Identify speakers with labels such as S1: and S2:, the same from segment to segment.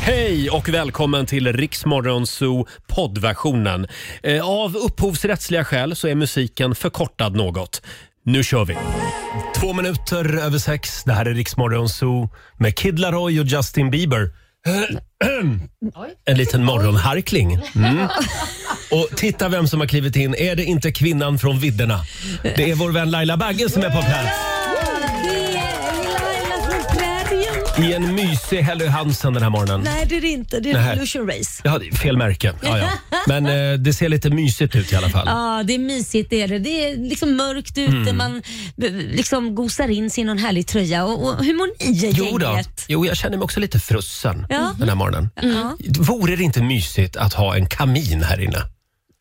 S1: Hej och välkommen till Riksmorgon Zoo poddversionen. Eh, Av upphovsrättsliga skäl så är musiken förkortad något. Nu kör vi! Två minuter över sex. Det här är Riksmorgon Zoo med Kid Laroi och Justin Bieber. En liten morgonharkling. Mm. Och titta vem som har klivit in. Är det inte kvinnan från vidderna? Det är vår vän Laila Bagge som är på plats.
S2: Det är Laila från prärien.
S1: I en mysig Helly Hansen den här morgonen.
S2: Nej, det är det inte. Det är
S1: Nej.
S2: Revolution Race.
S1: Ja, det är fel märke. Ja, ja. Men eh, det ser lite mysigt ut i alla fall. Mm.
S2: Ja, det är mysigt det är det. Det är liksom mörkt ute, man b- liksom gosar in sig i någon härlig tröja. Och, och hur mår ni
S1: Jo, då.
S2: gänget? Eh,
S1: jo, jag känner mig också lite frusen
S2: Ja.
S1: den här morgonen.
S3: Mm.
S2: Ja.
S1: Vore det inte mysigt att ha en kamin här inne?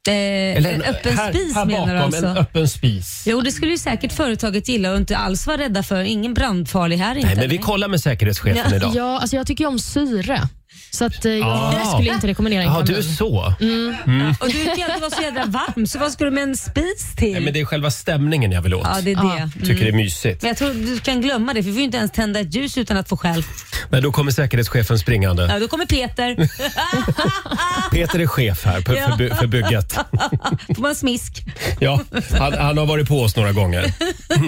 S3: Eh, en öppen
S1: här,
S3: spis
S1: här
S3: menar
S1: bakom,
S3: du alltså?
S1: en öppen spis.
S3: Jo, det skulle ju säkert företaget gilla och inte alls vara rädda för. Ingen brandfarlig här inte.
S1: Nej, men vi kollar med säkerhetschefen
S3: Ja,
S1: idag.
S4: Ja, alltså jag tycker ju om syre. Så att, eh, jag
S1: Ah.
S4: skulle inte rekommendera en
S1: Ja,
S4: kamin.
S1: du är så.
S3: Mm.
S1: Mm.
S3: Och du kan ju inte vara så jädra varm, så vad ska du med en spis till?
S1: Nej, men det är själva stämningen jag vill åt.
S3: Ja, det är det. Mm.
S1: Tycker det är mysigt.
S3: Men jag tror du kan glömma det, för vi får ju inte ens tända ett ljus utan att få skäll.
S1: Men då kommer säkerhetschefen springande.
S3: Ja, då kommer Peter.
S1: Peter är chef här för, för, by- för bygget.
S3: Får man smisk?
S1: Ja, han, han har varit på oss några gånger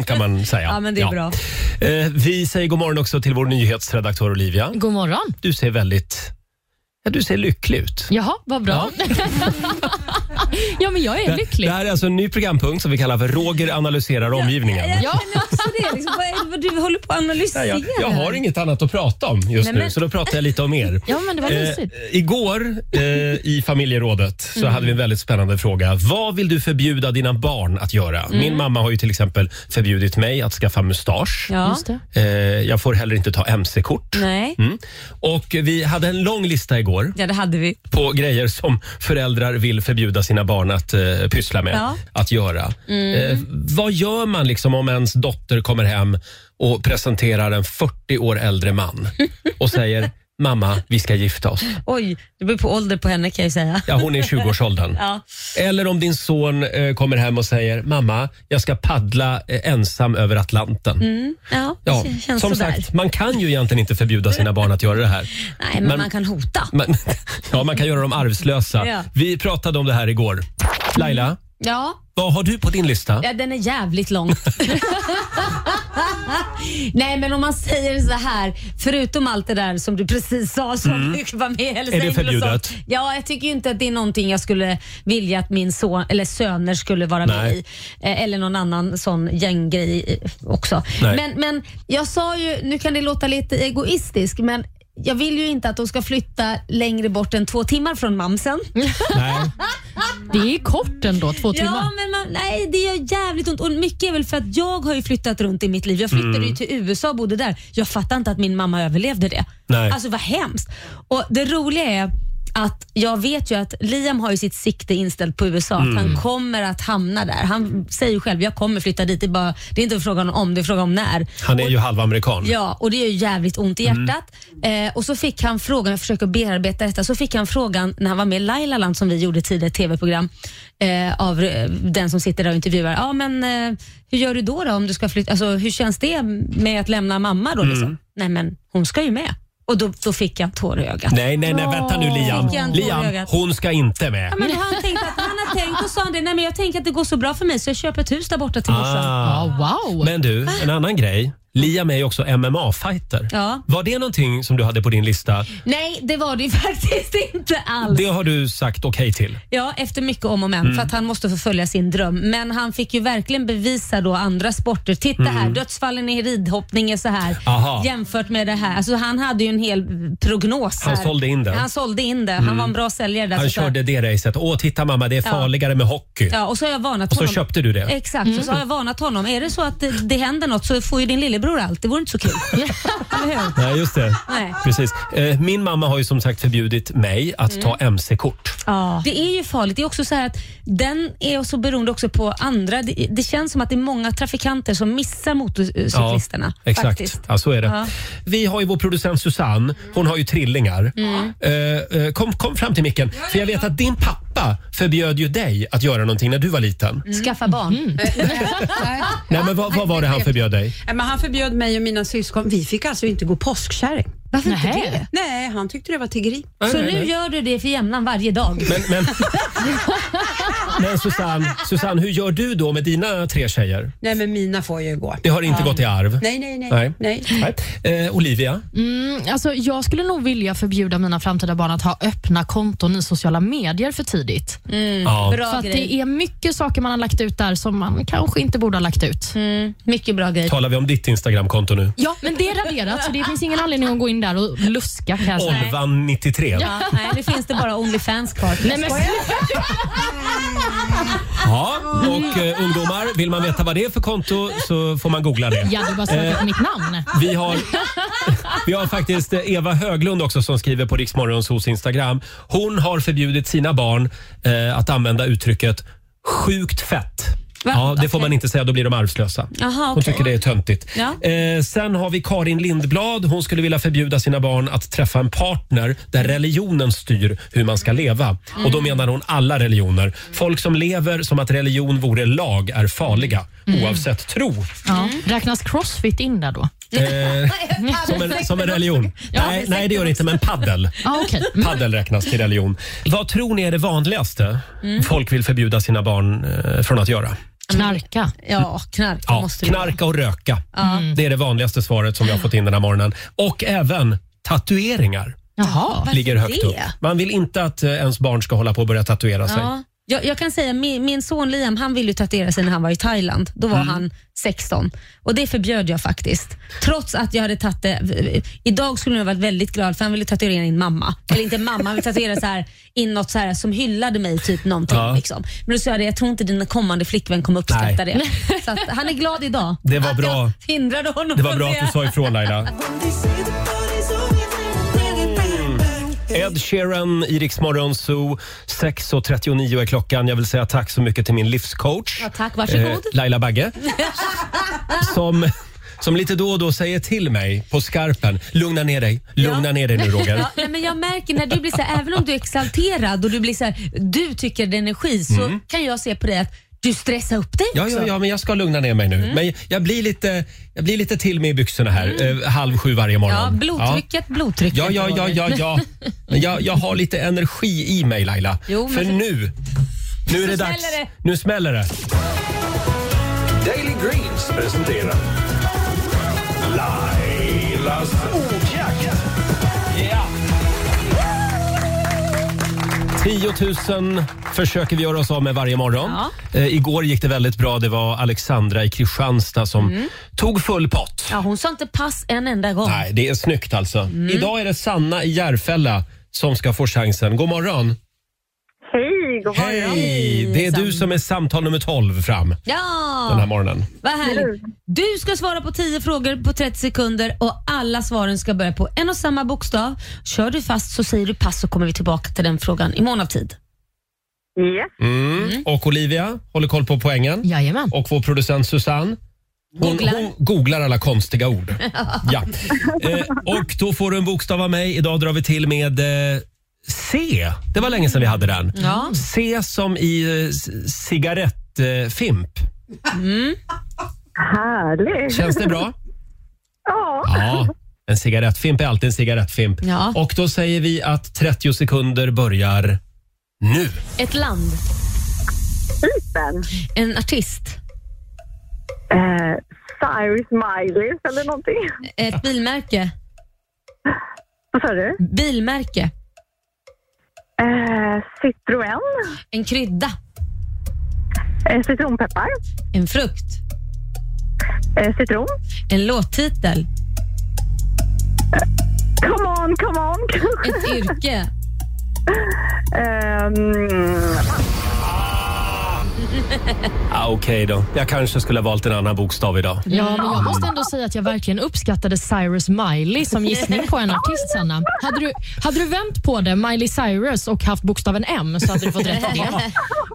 S1: kan man säga.
S3: Ja, men det är bra.
S1: Eh, vi säger god morgon också till vår nyhetsredaktör Olivia.
S4: God morgon.
S1: Du ser väldigt... Ja, du ser lycklig ut.
S4: Jaha, vad bra. Ja, men jag är lycklig.
S1: Det här är alltså en ny programpunkt som vi kallar för Roger analyserar omgivningen.
S4: Ja,
S3: Så det är liksom, vad är det vad du håller på att analysera?
S1: Nej, jag, jag har inget annat att prata om just
S3: Nej,
S1: nu,
S3: men-
S1: så då pratar jag lite om er.
S4: ja, men det var
S1: Eh,
S4: mysigt.
S1: igår eh, i familjerådet så hade vi en väldigt spännande fråga. Vad vill du förbjuda dina barn att göra? Min mamma har ju till exempel förbjudit mig att skaffa mustasch.
S3: Ja.
S4: Just det.
S1: Eh, jag får heller inte ta mc-kort.
S3: Nej,
S1: Mm. Och vi hade en lång lista igår
S3: ja det hade vi.
S1: på grejer som föräldrar vill förbjuda sina barn att eh, pyssla med,
S3: Ja. Mm.
S1: att göra. Eh, vad gör man liksom om ens dotter kommer hem och presenterar en 40 år äldre man och säger “mamma, vi ska gifta oss”?
S3: Oj, det beror på ålder på henne kan jag ju säga.
S1: Ja, hon är i 20-årsåldern.
S3: Ja.
S1: Eller om din son eh, kommer hem och säger “mamma, jag ska paddla eh, ensam över Atlanten”.
S3: Ja, Mm. det
S1: Ja,
S3: känns
S1: som
S3: sådär.
S1: sagt, man kan ju egentligen inte förbjuda sina barn att göra det här.
S3: Nej, men,
S1: men-
S3: man kan hota.
S1: Men, ja, man kan göra dem arvslösa.
S3: Ja.
S1: Vi pratade om det här igår. Laila,
S3: Ja,
S1: vad har du på din lista?
S3: Ja, den är jävligt lång. Nej, men om man säger så här, förutom allt det där som du precis sa som var med eller
S1: Mm. Är det
S3: och sånt.
S1: förbjudet?
S3: Ja, jag tycker ju inte att det är någonting jag skulle vilja att min son eller söner skulle vara med
S1: Nej.
S3: i. Eh, Eller någon annan sån gänggrej eh, också.
S1: Nej.
S3: Men, men jag sa ju, nu kan det låta lite egoistisk, men jag vill ju inte att de ska flytta längre bort än två timmar från mamsen.
S1: Nej.
S4: Det är kort ändå, två
S3: Ja,
S4: timmar.
S3: men man, nej, det gör jävligt ont. Och mycket är väl för att jag har ju flyttat runt i mitt liv. Jag flyttade
S4: Mm.
S3: ju till USA och bodde där. Jag fattar inte att min mamma överlevde det.
S1: Nej.
S3: Alltså vad hemskt. Och det roliga är att jag vet ju att Liam har ju sitt sikte inställt på USA, att
S4: Mm.
S3: han kommer att hamna där. Han säger ju själv, jag kommer flytta dit. Det är, bara, det är inte frågan om, det är frågan om när.
S1: Han är ju halvamerikan.
S3: Ja, och det gör ju jävligt ont i
S1: Mm.
S3: hjärtat. Eh, och så fick han frågan, jag försöker bearbeta detta, så fick han frågan när han var med i Lailaland som vi gjorde tidigare, ett tv-program, eh, av eh, den som sitter där och intervjuar. Ja, men eh, hur gör du då, då om du ska flytta? Alltså, hur känns det med att lämna mamma då?
S1: Mm.
S3: Liksom? Nej, men hon ska ju med. Och då, då fick jag en tår i ögat.
S1: Nej, nej, nej, vänta nu Liam.
S3: Fick jag en tår i
S1: Liam,
S3: ögat.
S1: hon ska inte med.
S3: Ja, men han, tänkte att, han har tänkt och sa han det, nej men jag tänker att det går så bra för mig så jag köper ett hus där borta till morsan.
S1: Ah.
S4: Ja, wow.
S1: Men du, en annan grej. Liam är ju också MMA-fighter.
S3: Ja.
S1: Var det någonting som du hade på din lista?
S3: Nej, det var det ju faktiskt inte alls.
S1: Det Mm. har du sagt okej till.
S3: Ja, efter mycket om och men för att han måste förfölja sin dröm. Men han fick ju verkligen bevisa då andra sporter. Titta här, dödsfallen i ridhoppning är så här
S1: Mm. Aha.
S3: jämfört med det här. Alltså, han hade ju en hel prognos.
S1: Han
S3: här.
S1: sålde in det.
S3: Han sålde in det. Han var en bra säljare där.
S1: Han
S3: så-
S1: körde det racet. Åh, titta mamma, det är farligare med hockey.
S3: Ja, och så har jag varnat
S1: Och så
S3: honom.
S1: köpte du det. Mm.
S3: Exakt, och så har jag varnat honom. Är det så att det, det händer något så får ju din lillebror allt. Det vore inte så kul. Eller hur?
S1: Nej, just det.
S3: Nej.
S1: Precis. Eh, Min mamma har ju som sagt förbjudit mig att
S3: Mm.
S1: ta mc-kort.
S3: Det är ju farligt. Det är också så här att den är så beroende också på andra. Det, det känns som att det är många trafikanter som missar motorcyklisterna.
S1: exakt.
S3: Faktiskt.
S1: Ja, så är det.
S3: Ja.
S1: Vi har ju vår producent
S3: Mm.
S1: Susanne. Hon har ju trillingar. Eh, eh, kom, kom fram till micken. För jag vet att din pappa pappa förbjöd ju dig att göra någonting när du var liten.
S2: Mm.
S3: Skaffa barn. Mm.
S5: Nej.
S1: Mm. Nej, men vad, vad var det han förbjöd dig?
S5: Nej, Men han förbjöd mig och mina syskon. Vi fick alltså inte gå påskkärring.
S3: Varför
S4: Nähä.
S3: inte det?
S5: Nej, han tyckte det var tiggeri.
S3: Så
S1: Nej, nej,
S3: nu
S1: nej.
S3: gör du det för jämnan varje dag?
S1: Men, men, men Susanne, Susanne, hur gör du då med dina tre tjejer?
S5: Nej, men mina får ju gå.
S1: Det har inte gått i arv.
S5: Nej, nej, nej.
S1: Nej.
S5: nej.
S1: Nej. Eh, Olivia,
S4: Mm, alltså, jag skulle nog vilja förbjuda mina framtida barn att ha öppna konton i sociala medier för tidigt.
S1: ja.
S3: Mm, Bra
S4: För att
S3: grej.
S4: det är mycket saker man har lagt ut där som man kanske inte borde ha lagt ut.
S3: Mm, Mycket bra grej.
S1: talar vi om ditt Instagramkonto nu?
S4: Ja, men det är raderat så det finns ingen anledning att gå in där och luska kan jag säga.
S1: Olvan93.
S3: Ja, nej, nu finns det bara Onlyfans kvar.
S4: Nej, men,
S1: Ja, och eh, ungdomar, vill man veta vad det är för konto så får man googla det.
S4: ja, du bara söka på mitt namn.
S1: Eh, Vi har, vi har faktiskt eh, Eva Höglund också som skriver på Riksmorgons hos Instagram. Hon har förbjudit sina barn eh, att använda uttrycket sjukt fett. Ja, det får man inte säga, då blir de arvslösa.
S3: Aha,
S1: Hon
S3: okej.
S1: tycker det är töntigt.
S3: Ja.
S1: Eh, sen har vi Karin Lindblad. Hon skulle vilja förbjuda sina barn att träffa en partner där religionen styr hur man ska leva. Och
S3: Mm.
S1: då menar hon alla religioner. Folk som lever som att religion vore lag är farliga,
S3: Mm.
S1: oavsett tro.
S4: Ja. Räknas crossfit in där då?
S1: Eh, som, en, som en religion. nej, nej, det gör det inte, men paddel.
S4: Ja, okej.
S3: Mm.
S1: Paddel räknas till religion. Vad tror ni är det vanligaste
S3: Mm.
S1: folk vill förbjuda sina barn eh, från att göra?
S4: Knarka.
S3: Ja, knark
S1: Ja,
S3: måste det vara. Mm.
S1: knarka och röka. Det är det vanligaste svaret som jag har fått in den här morgonen. Och även tatueringar
S4: Jaha.
S1: ligger högt
S3: det?
S1: upp. Man vill inte att eh, ens barn ska hålla på och börja tatuera sig.
S3: Ja. Jag, jag kan säga, min, min son Liam han ville ju tatuera sig när han var i Thailand. Då
S1: Mm.
S3: var han 16 och det förbjöd jag faktiskt. Trots att jag hade tagit det. Idag skulle han ha varit väldigt glad för han ville tatuera in mamma. Eller inte mamma, han ville tatuera så här, in något så här, som hyllade mig, typ någonting.
S1: Ja.
S3: Liksom. Men då sa jag det, jag tror inte din kommande flickvän kommer uppskatta
S1: Nej.
S3: det. Så att, han är glad idag.
S1: Det var
S3: att
S1: bra.
S3: jag Hindrade honom
S1: Det var
S3: från
S1: bra att du sa ifrån Laila. Ed Sheeran, i Rix Morgon Zoo. 6.39 är klockan. Jag vill säga tack så mycket till min livscoach. eh,
S3: Ja, tack, varsågod.
S1: Laila Bagge. Som, som lite då och då säger till mig på skarpen. Lugna ner dig. Lugna
S3: Ja.
S1: ner dig nu Roger.
S3: Ja, nej, men jag märker när du blir så här, även om du är exalterad och du blir så här, du tycker det är energi så kan jag se på dig att du stressar upp dig
S1: Mm. Ja,
S3: också.
S1: ja, ja, men jag ska lugna ner mig nu.
S3: Mm.
S1: Men jag blir, lite, jag blir lite till mig i byxorna här eh, halv sju varje morgon.
S3: Mm. Ja, blodtrycket, blodtrycket.
S1: Ja, ja, ja, ja,
S3: Roger.
S1: ja. Men jag, jag har lite energi i mig Laila.
S3: Jo, men
S1: För
S3: för-
S1: nu, nu är det
S3: smäller
S1: dags.
S3: det.
S1: Nu smäller det.
S6: Daily Greens presenterar Lailas ordjakt. Ja.
S1: 10 000 försöker vi göra oss av med varje morgon. Eh, igår gick det väldigt bra. Det var Alexandra i Kristianstad som
S3: Mm.
S1: tog full pott.
S3: Ja, hon sa inte pass en enda gång.
S1: Nej, det är snyggt alltså. Idag är det Sanna i Järfälla som ska få chansen. God morgon!
S2: Hej, god morgon.
S1: Hej! Det är du som är samtal nummer 12 fram den här
S3: Ja,
S1: morgonen.
S3: vad härligt. Du ska svara på 10 frågor på 30 sekunder och alla svaren ska börja på en och samma bokstav. Kör du fast så säger du pass så kommer vi tillbaka till den frågan i mån av tid.
S2: Ja,
S1: Mm. Och Olivia håller koll på poängen.
S4: Jajamän.
S1: Och vår producent Susanne hon googlar,
S3: Googlar.
S1: hon googlar alla konstiga ord. ja. eh, och då får du en bokstav av mig. Idag drar vi till med eh, C. Det var länge sedan vi hade den.
S3: Ja.
S1: C som i eh, c- cigarettfimp.
S5: Mm.
S2: härligt.
S1: Känns det bra?
S2: Ja,
S1: Ja. En cigarettfimp är alltid en cigarettfimp.
S3: Ja.
S1: Och då säger vi att 30 sekunder börjar nu.
S3: Ett land,
S2: typen.
S3: en artist,
S2: Eh, Cyrus Miley eller någonting.
S3: ett bilmärke,
S2: Vad sa du?
S3: bilmärke,
S2: Eh, Citroën.
S3: en krydda,
S2: Eh, citronpeppar.
S3: en frukt,
S2: Eh, citron.
S3: en låttitel,
S2: Eh, Come on, come on.
S3: ett yrke.
S2: eh, mm,
S1: Ah, Okej då. Jag kanske skulle ha valt en annan bokstav idag.
S4: Ja, men jag måste ändå säga att jag verkligen uppskattade Cyrus Miley som gissning på en artist, Sanna. Hade du, hade du vänt på det, Miley Cyrus, och haft bokstaven M så hade du fått rätt i det.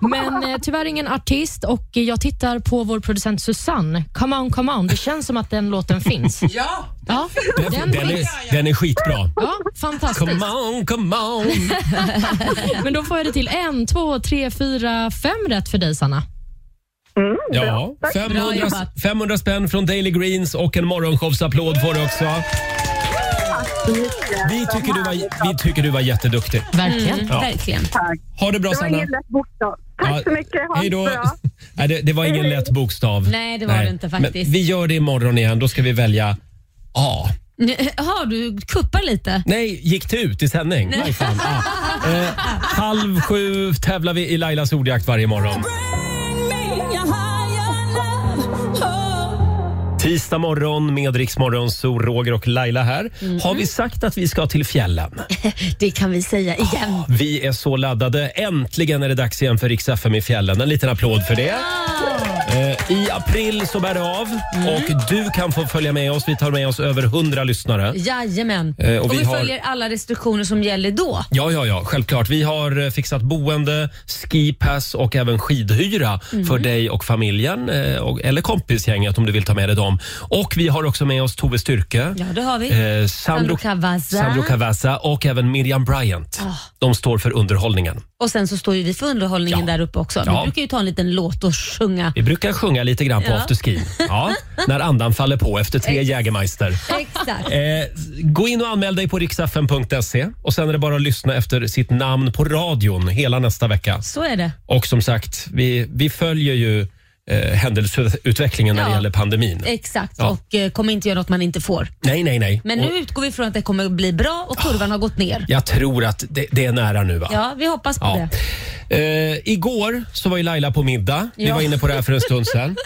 S4: Men eh, tyvärr ingen artist och eh, jag tittar på vår producent Susanne. Come on, come on. Det känns som att den låten finns.
S7: Ja,
S4: Ja,
S1: Den,
S4: den
S1: den,
S4: finns.
S1: är, den är skitbra.
S4: Ja, fantastiskt.
S1: Come on, come on.
S4: Men då får jag det till en, två, tre, fyra, fem rätt för dig Sanna.
S2: Mm,
S1: Ja,
S2: Bra, tack.
S1: 500,
S3: Bra jobbat.
S1: 500 spänn från Daily Greens och en morgonshowsapplåd får du också. Vi tycker du var, vi tycker du var jätteduktig. Mm.
S4: Verkligen.
S1: Ja.
S3: Verkligen.
S2: Tack.
S1: Ha det bra
S2: Det var
S1: Sanna.
S2: ingen lätt bokstav. Tack
S1: Ja,
S2: så mycket. Ha
S1: hej
S2: det
S1: då.
S2: bra.
S1: Nej, det, det var ingen lätt bokstav.
S3: Nej, det var det inte faktiskt.
S1: Men vi gör det imorgon igen. Då ska vi välja A.
S3: Nu, har du kuppar lite?
S1: Nej, gick det ut i sändning? Nej. Fan, ah. eh, halv sju tävlar vi i Lailas ordjakt varje morgon. Tisdag morgon med Rix Morgon, så Roger och Laila här. Har vi sagt att vi ska till fjällen?
S3: Det kan vi säga igen.
S1: Vi är så laddade. Äntligen är det dags igen för Rix FM i fjällen. En liten applåd för det.
S3: Ah.
S1: Eh, I april så bär det av och du kan få följa med oss. Vi tar med oss över 100 lyssnare.
S3: Jajamän.
S1: Eh, och
S3: och,
S1: vi
S3: vi
S1: har-
S3: följer alla restriktioner som gäller då.
S1: Ja, ja, ja, självklart. Vi har eh, fixat boende, skipass och även skidhyra för
S3: Mm.
S1: dig och familjen eh, och, eller kompisgänget om du vill ta med dig dem. Och vi har också med oss Tove Styrke.
S3: Ja, det har vi.
S1: Eh,
S3: Sandro Cavazza.
S1: Sandro Cavazza och även Miriam Bryant.
S3: Ah.
S1: De står för underhållningen.
S3: Och sen så står ju vi för underhållningen
S1: Ja.
S3: där uppe också.
S1: Ja.
S3: Vi brukar ju ta en liten låt och sjunga.
S1: Vi brukar sjunga lite grann på
S3: Ja.
S1: afterskin. Ja, när andan faller på efter tre Jägermeister.
S3: Exakt.
S1: Eh, gå in och anmäl dig på riksfn.se och sen är det bara att lyssna efter sitt namn på radion hela nästa vecka.
S3: Så är det.
S1: Och som sagt, vi, vi följer ju eh, händelseutvecklingen när det
S3: Ja.
S1: gäller pandemin.
S3: Exakt.
S1: Ja.
S3: Och eh, kommer inte göra något man inte får.
S1: Nej, nej, nej.
S3: Men
S1: Och
S3: nu utgår vi från att det kommer att bli bra och kurvan har gått ner.
S1: jag tror att det, det är nära nu va?
S3: Ja, vi hoppas på
S1: Ja.
S3: det.
S1: Eh, igår så var ju Laila på middag. Vi
S3: Ja.
S1: var inne på det här för en stund sedan.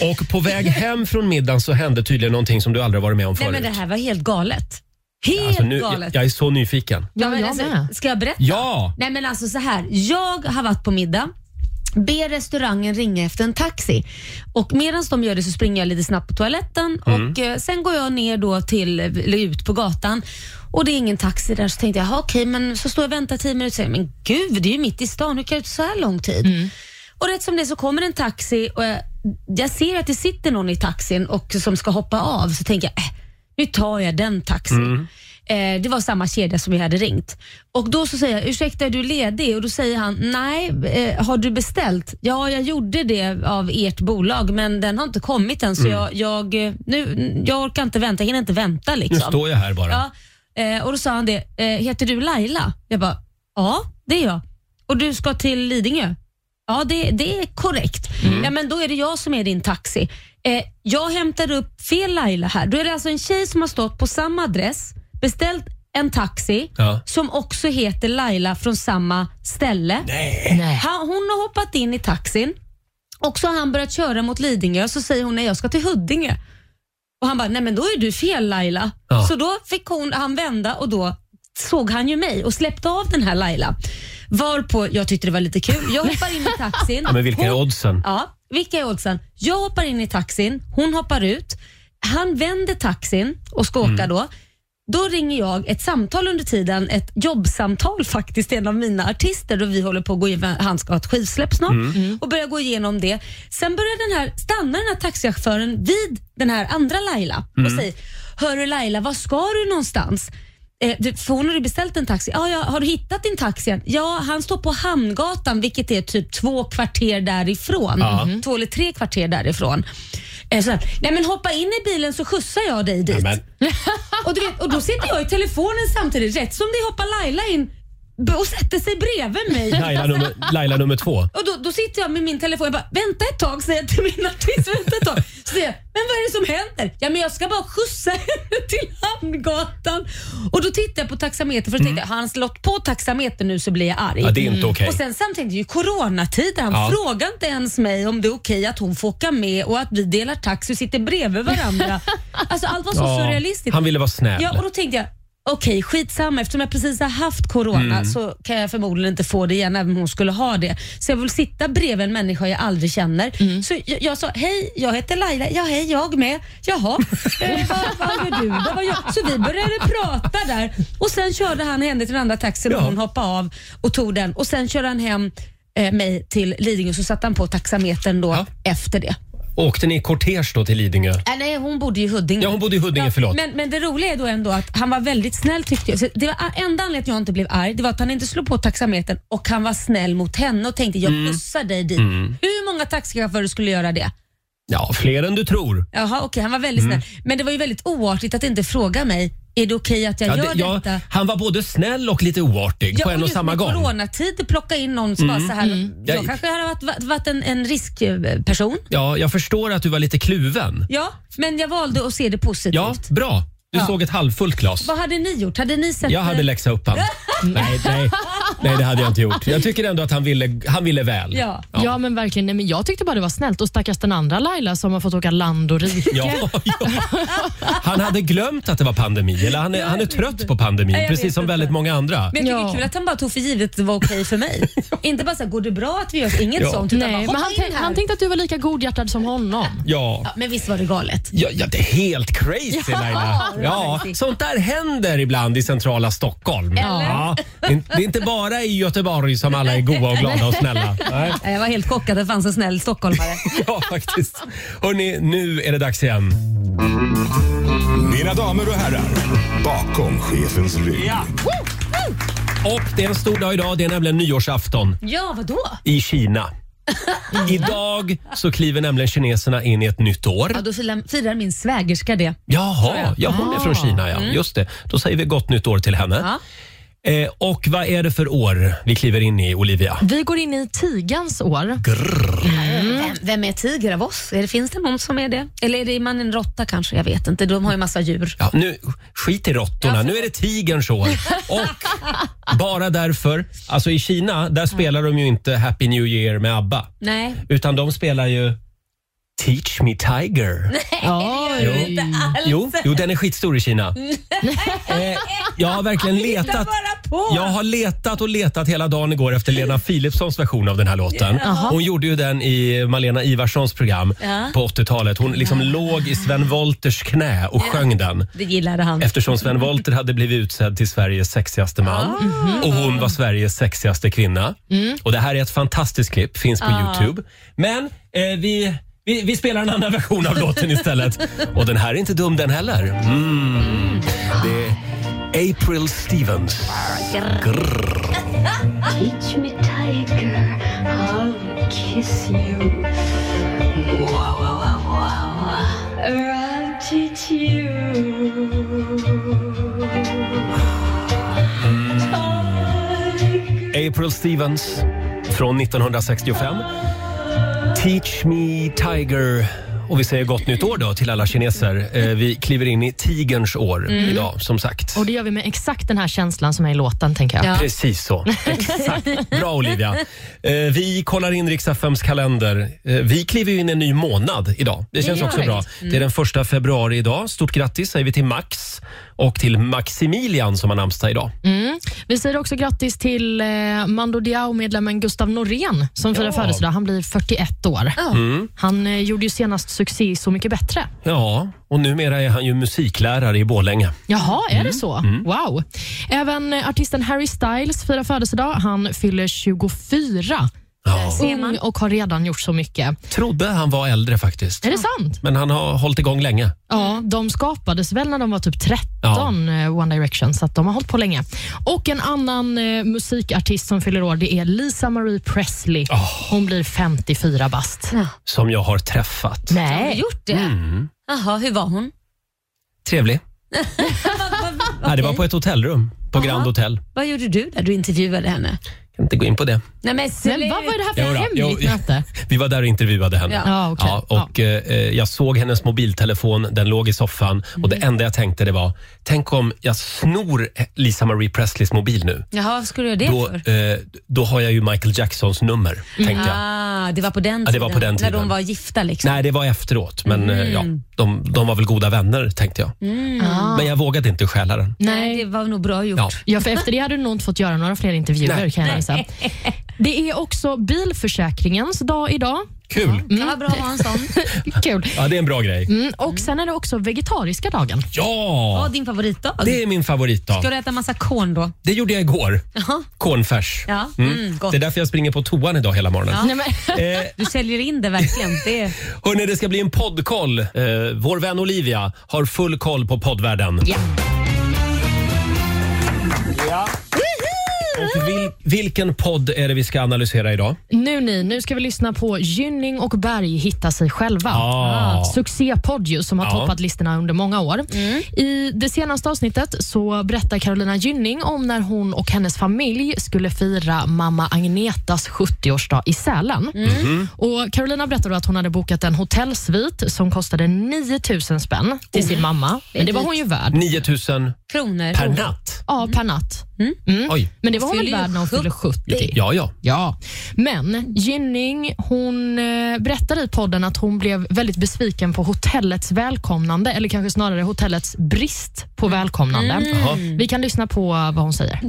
S1: Och på väg hem från middagen så hände tydligen någonting som du aldrig varit med om
S3: Nej
S1: förut.
S3: men det här var helt galet. Helt
S1: Alltså, nu, jag,
S3: galet.
S1: jag är så nyfiken.
S4: Ja,
S3: men alltså,
S4: jag med.
S3: ska jag berätta?
S1: Ja!
S3: Nej men alltså så här. Jag har varit på middag. Ber restaurangen ringa efter en taxi. Och medan de gör det så springer jag lite snabbt på toaletten och eh, sen går jag ner då till, eller ut på gatan och det är ingen taxi där. Så tänkte jag, "Jaha, okej, men så står jag och väntar 10 minuter och säger, men gud, det är ju mitt i stan, hur kan det ta så här lång tid? Och rätt som det är så kommer en taxi och jag, jag ser att det sitter någon i taxin och som ska hoppa av så tänker jag, äh, nu tar jag den taxin. Eh, det var samma kedja som jag hade ringt. Och Då så säger jag, ursäkta är du ledig? Och Då säger han, nej, eh, har du beställt? Ja, jag gjorde det av ert bolag men den har inte kommit än så
S1: Mm.
S3: jag, jag, eh, nu, jag orkar inte vänta, jag hinner inte vänta.
S1: Nu
S3: Liksom.
S1: står jag här bara.
S3: Ja, eh, och då sa han det, eh, heter du Laila? Jag bara, ja det är jag. Och du ska till Lidingö? Ja det, det är korrekt. Ja men då är det jag som är din taxi. Eh, jag hämtar upp fel Laila här. Då är det alltså en tjej som har stått på samma adress, beställt en taxi
S1: Ja.
S3: som också heter Laila från samma ställe.
S4: Nej.
S3: Han, hon har hoppat in i taxin och så har han börjat köra mot Lidingö så säger hon nej jag ska till Huddinge. Och han bara, nej men då är du fel Laila.
S1: Ja.
S3: Så då fick hon, han vända och då såg han ju mig och släppte av den här Laila. Varpå jag tyckte det var lite kul. Jag hoppar in i taxin.
S1: Ja, men vilka är
S3: Hon-
S1: oddsen?
S3: Ja, vilka är oddsen? Jag hoppar in i taxin, hon hoppar ut. Han vänder taxin och ska åka
S1: Mm.
S3: då. Då ringer jag ett samtal under tiden, ett jobbsamtal faktiskt till en av mina artister och vi håller på att gå igenom, han ska ha ett skivsläpp snart
S1: Mm.
S3: och börjar gå igenom det. Sen börjar den här, stannar den här taxichauffören vid den här andra Laila
S1: Mm.
S3: och säger, hörru Laila, var ska du någonstans? Eh, du, för hon har ju beställt en taxi. Ja, ja, har du hittat din taxi än? Ja, han står på Hamngatan vilket är typ två kvarter därifrån.
S1: Ja.
S3: Mhm. Två eller tre kvarter därifrån. Eh, så här, Nej men hoppa in i bilen så skjutsar jag dig dit.
S1: Men,
S3: Och, du vet, och då sitter jag i telefonen samtidigt. Rätt som det hoppar Laila in b- och sätter sig bredvid mig.
S1: Laila, nummer, Laila nummer två.
S3: Och då, då sitter jag med min telefon och bara “vänta ett tag” säger jag till min artist. Vänta ett tag. Så säger jag “men vad är det som händer?” “Ja men jag ska bara skjutsa henne till Hamngatan”. Och då tittar jag på taxametern för att tänkte, har han slått på taxametern nu så blir jag arg.
S1: Ja, det är inte okej.
S3: Och sen samtidigt, det är ju coronatid. Han
S1: Ja.
S3: frågar inte ens mig om det är okej att hon får åka med och att vi delar taxi och sitter bredvid varandra. alltså allt var så
S1: Ja,
S3: surrealistiskt.
S1: han ville vara snäll.
S3: Ja, och då tänkte jag Okej, skitsamma. Eftersom jag precis har haft corona
S1: Mm.
S3: så kan jag förmodligen inte få det igen även om hon skulle ha det. Så jag vill sitta bredvid en människa jag aldrig känner.
S1: Mm.
S3: Så jag, jag sa, hej, jag heter Laila. Ja, hej, jag med. Jaha, eh, vad, vad gör du då? Vad gör? Så vi började prata där och sen körde han henne till den andra taxin och
S1: Ja.
S3: hon hoppade av och tog den och sen körde han hem eh, mig till Lidingö så satte han på taxametern då
S1: Ja.
S3: efter det.
S1: Åkte ni i kortege då till Lidingö?
S3: Äh, nej, hon bodde ju i Huddinge.
S1: Ja, hon bodde i Huddinge, förlåt.
S3: Men, men det roliga är då ändå att han var väldigt snäll tyckte jag. Så det var, enda anledningen att jag inte blev arg det var att han inte slog på taxametern och han var snäll mot henne och tänkte jag
S1: Mm.
S3: pussar dig dit. Hur många taxichaufförer skulle göra det?
S1: Ja, fler än du tror.
S3: Jaha okej, han var väldigt
S1: Mm.
S3: snäll. Men det var ju väldigt oartigt att inte fråga mig, är det okej att jag
S1: Ja,
S3: gör
S1: det, ja,
S3: detta?
S1: han var både snäll och lite oartig på en och
S3: just
S1: samma
S3: med
S1: gång. Mm.
S3: coronatid plocka in någon som bara så här. Jag
S1: Ja.
S3: kanske hade varit, varit en, en riskperson.
S1: Ja, jag förstår att du var lite kluven.
S3: Ja, men jag valde att se det positivt.
S1: Ja, bra. Du
S3: Ja.
S1: såg ett halvfullt glas.
S3: Vad hade ni gjort? Hade ni sett
S1: Jag hade läxa upp han. nej, nej, nej, det hade jag inte gjort. Jag tycker ändå att han ville, han ville väl.
S3: Ja.
S4: Ja. men verkligen. Nej, men jag tyckte bara det var snällt. Och stackars den andra Laila som har fått åka land och rike.
S1: Ja, ja. Han hade glömt att det var pandemi. Eller han är, han är trött på
S3: Nej,
S1: pandemin,
S3: jag
S1: precis
S3: vet
S1: som
S3: inte.
S1: väldigt många andra.
S3: Men jag tycker det
S4: Ja.
S3: är kul att han bara tog för givet att det var okej för mig. Inte bara så här, går det bra att vi gör inget
S1: Ja.
S3: sånt utan
S4: Nej,
S3: bara,
S4: men
S3: hoppa
S4: han,
S3: in
S4: tänk,
S3: här.
S4: han tänkte att du var lika godhjärtad som honom.
S1: Ja.
S3: Men visst var det galet?
S1: Ja, ja, det är helt crazy Laila.
S3: det var
S1: Ja,
S3: faktiskt.
S1: sånt där händer ibland i centrala Stockholm. Ja, det är- det är inte bara i Göteborg som alla är goa och glada och snälla. Nej.
S3: Nej, Jag var helt chockad att det fanns en snäll stockholmare.
S1: Ja, faktiskt. Hörni, nu är det dags igen.
S8: Mina damer och herrar, bakom chefens rygg.
S1: Och det är en stor dag idag. Det är nämligen nyårsafton
S3: ja, vadå?
S1: i Kina. Idag så kliver nämligen kineserna in i ett nytt år.
S3: Ja, då firar, firar min svägerska det.
S1: Jaha, ja, Mm. hon är från Kina ja. Just det. Då säger vi gott nytt år till henne. Eh, och vad är det för år vi kliver in i, Olivia?
S4: Vi går in i tigans år.
S3: Mm.
S4: Mm.
S3: Vem, vem är tiger av oss? Är det, finns det någon som är det? Eller är det man en råtta kanske? Jag vet inte. De har ju massa djur.
S1: Ja, nu, skit i råttorna, nu är det tigerns år. Och bara därför, alltså i Kina, där spelar de ju inte Happy New Year med ABBA.
S3: Nej,
S1: Utan de spelar ju Teach Me Tiger.
S3: det gör det inte alls.
S1: Jo, jo, den är skitstor i Kina. eh, jag har verkligen letat.
S3: bara på.
S1: Jag har letat och letat hela dagen igår efter Lena Philipssons version av den här låten. Hon gjorde ju den i Malena Ivarssons program
S3: Ja.
S1: på 80-talet. Hon liksom låg i Sven Wolters knä och sjöng den.
S3: Det gillade han.
S1: Eftersom Sven Wollter hade blivit utsedd till Sveriges sexigaste man och hon var Sveriges sexigaste kvinna. Och Det här är ett fantastiskt klipp, finns på Youtube. Men eh, vi, vi, vi spelar en annan version av låten istället. Och den här är inte dum den heller. Mm. Det är April Stevens.
S9: Teach me, tiger, how to kiss you. Wah, wah, wah, wah, wah. Or I'll teach you.
S1: Mm.
S9: Tiger.
S1: April Stevens från 1965. Teach me tiger. Och vi säger gott nytt år då till alla kineser. Eh, vi kliver in i tigerns år
S3: Mm.
S1: idag, som sagt.
S4: Och Det gör vi med exakt den här känslan som är i låten. tänker jag.
S3: Ja.
S1: Precis så. Exakt. Bra Olivia. Eh, vi kollar in Riks-FMs kalender. Eh, vi kliver ju in i en ny månad idag. Det känns
S3: gör
S1: också
S3: vi. Mm.
S1: bra. Det är den första februari idag. Stort grattis säger vi till Max och till Maximilian som har namnsdag idag.
S4: Mm. Vi säger också grattis till eh, Mando Diao-medlemmen Gustav Norén som firar
S1: Ja. Mm.
S4: födelsedag. Han blir 41 år. Han eh, gjorde ju senast succé i Så mycket bättre.
S1: Ja, och numera är han ju musiklärare i Borlänge.
S4: Jaha, är
S1: Mm.
S4: det så? Wow. Även eh, artisten Harry Styles firar födelsedag. Han fyller 24. Ung och har redan gjort så mycket.
S1: Trodde han var äldre faktiskt.
S4: Är det sant?
S1: Men han har hållit igång länge.
S4: Ja, de skapades väl när de var typ 13, eh, One Direction, så att de har hållit på länge. Och en annan eh, musikartist som fyller år, det är Lisa Marie Presley. Hon blir 54 bast.
S1: Som jag har träffat.
S3: Har du
S4: Nej.
S3: gjort det?
S1: Mm.
S3: Jaha, hur var hon?
S1: Trevlig. Nej, det var på ett hotellrum på Grand Hotel.
S3: Vad gjorde du där du intervjuade henne?
S1: Kan inte gå in på det.
S3: Nej, men,
S4: Men vad var det här för
S1: Jodå,
S4: hemligt
S1: jo.
S4: möte?
S1: Vi var där och intervjuade henne.
S3: Ja.
S4: Ja, okej.
S1: Ja, och Eh, jag såg hennes mobiltelefon, den låg i soffan och
S3: Mm.
S1: det enda jag tänkte det var, tänk om jag snor Lisa Marie Presleys mobil nu.
S3: Jaha, vad skulle du göra det
S1: Då,
S3: för? Mm.
S1: eh, då har jag ju Michael Jacksons nummer, tänkte jag.
S3: Ah, det var på den
S1: Ja, det var på den
S3: När
S1: tiden.
S3: de var gifta liksom.
S1: Nej, det var efteråt, men eh, ja,
S3: Mm.
S1: de, de var väl goda vänner, tänkte jag.
S3: Ah.
S1: Men jag vågade inte stjäla den.
S3: Nej,
S4: Nej.
S3: det var nog bra gjort.
S1: Ja.
S4: Ja, för efter det hade du nog inte fått göra några fler intervjuer
S1: Nej,
S4: kan
S1: nej.
S4: jag länge sedan. Det är också bilförsäkringens dag idag. Mm.
S1: Kul!
S3: Det kan vara bra att ha en sån.
S4: Kul.
S1: Ja, det är en bra grej.
S4: Mm, och Sen är det också vegetariska dagen.
S3: Ja,
S1: Ja!
S3: din favoritdag.
S1: Det är min favoritdag.
S3: Ska du äta massa korn då?
S1: Det gjorde jag igår.
S3: Jaha.
S1: Cornfärs.
S3: Ja, mm, gott.
S1: Det är därför jag springer på toan idag hela morgonen.
S4: Nej, men,
S1: Eh,
S3: Du säljer in det verkligen. Det är...
S1: hörni, det ska bli en poddkoll. Eh, vår vän Olivia har full koll på poddvärlden.
S4: ja.
S1: Och vil, vilken podd är det vi ska analysera idag?
S4: Nu ni, nu ska vi lyssna på Gynning och Berg hitta sig själva.
S1: Ah.
S4: Succépodd ju, som har
S1: Ja.
S4: toppat listorna under många år. I det senaste avsnittet så berättar Carolina Gynning om när hon och hennes familj skulle fira mamma Agnetas 70-årsdag i Sälen.
S1: Mhm.
S10: Mm.
S4: Och Carolina berättar då att hon hade bokat en hotellsvit som kostade 9 000 spänn till
S1: Oh.
S4: sin mamma. Men det var hon ju värd.
S1: 9000
S3: Kronor.
S1: per natt.
S4: Ja, per natt.
S1: Oj.
S4: Men det var hon väl
S3: Fyller ju
S4: värd när hon fyllde 70.
S1: Ja, ja.
S4: Mm. Ja, men Gynning hon eh, berättade i podden att hon blev väldigt besviken på hotellets välkomnande, eller kanske snarare hotellets brist på välkomnande.
S1: Jaha.
S4: Vi kan lyssna på vad hon säger.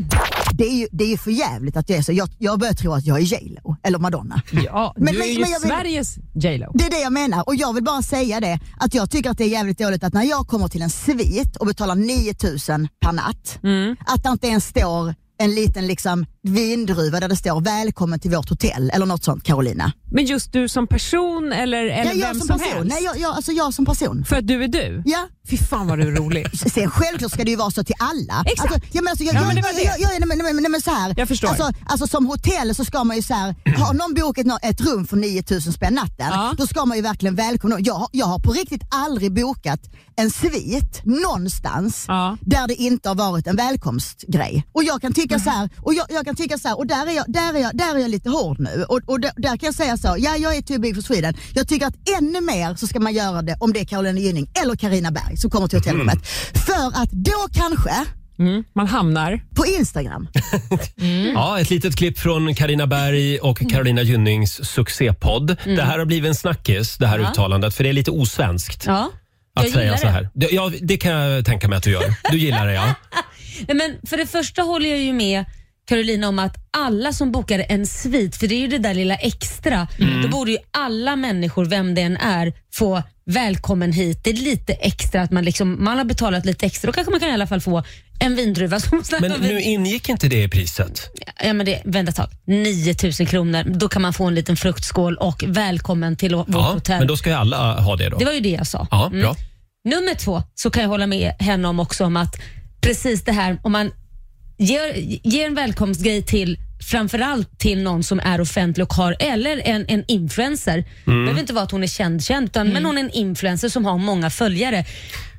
S11: Det är ju, det är ju för jävligt att det är så. Jag, jag börjar tro att jag är J.Lo eller Madonna.
S12: Ja,
S11: Men-
S12: du
S11: men-
S12: är ju
S11: men jag vill-
S12: Sveriges J Lo.
S11: Det är det jag menar och jag vill bara säga det att jag tycker att det är jävligt dåligt att när jag kommer till en svit och betalar 9000 per natt,
S12: Mm.
S11: att det inte ens står en liten liksom vindruva där det står välkommen till vårt hotell eller något sånt Carolina.
S12: Men just du som person eller, eller
S11: jag,
S12: vem som,
S11: person.
S12: helst?
S11: Nej, jag, jag, alltså jag som person.
S12: För att du är du?
S11: Ja.
S12: Fy fan vad du är rolig.
S11: Sen självklart ska det ju vara så till alla.
S12: Exakt.
S11: Alltså, jag menar, alltså, jag,
S12: Ja,
S11: jag,
S12: men det
S11: jag,
S12: var det.
S11: jag, jag, nej, men- nej, men- nej, men så här.
S12: Jag förstår.
S11: Alltså, alltså som hotell så ska man ju så här, har någon bokat nå- ett rum för 9000 spänn natten,
S12: Ja.
S11: då ska man ju verkligen välkomna. Jag, har- jag har på riktigt aldrig bokat en svit någonstans
S12: Ja.
S11: där det inte har varit en välkomstgrej. Och jag kan tycka
S12: Mm.
S11: så här, och, jag, jag kan tycka så här, och där är jag, där är jag, där är jag lite hård nu. Och, och där, där kan jag säga så, ja jag är too big for Sweden. Jag tycker att ännu mer så ska man göra det om det är Caroline Gynning eller Karina Berg som kommer till hotellrummet. För att då kanske,
S12: Mm, man hamnar...
S11: på Instagram,
S1: Mm.
S4: Mm.
S1: Ja, ett litet klipp från Karina Berg och Carolina Gynnings succépodd.
S4: Mm.
S1: Det här har blivit en snackis, det här uttalandet, för det är lite osvenskt
S3: Ja.
S1: att
S3: jag gillar
S1: säga så
S3: det.
S1: här. Det, ja, det kan jag tänka mig att du gör. Du gillar det, ja.
S3: Nej, Men för det första håller jag ju med Carolina om att alla som bokar en svit, för det är ju det där lilla extra,
S1: Mm.
S3: då borde ju alla människor, vem det än är, få välkommen hit. Det är lite extra att man, liksom, man har betalat lite extra. Då kanske man kan i alla fall få en vindruva. Som
S1: Men nu ingick inte det i priset.
S3: ja, men det, vänta ett tag, 9000 kronor. Då kan man få en liten fruktskål och välkommen till vårt
S1: Ja,
S3: hotell.
S1: men då ska ju alla ha det då.
S3: Det var ju det jag sa.
S1: Ja,
S3: Mm.
S1: bra.
S3: Nummer två så kan jag hålla med henne om också om att precis det här om man ger, ger en välkomstgrej till framförallt till någon som är offentlig och har, eller en, en influencer.
S1: Mm.
S3: Det behöver inte vara att hon är känd, känd utan men hon är en influencer som har många följare.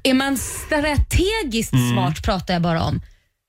S3: Är man strategiskt
S1: Mm.
S3: smart, pratar jag bara om,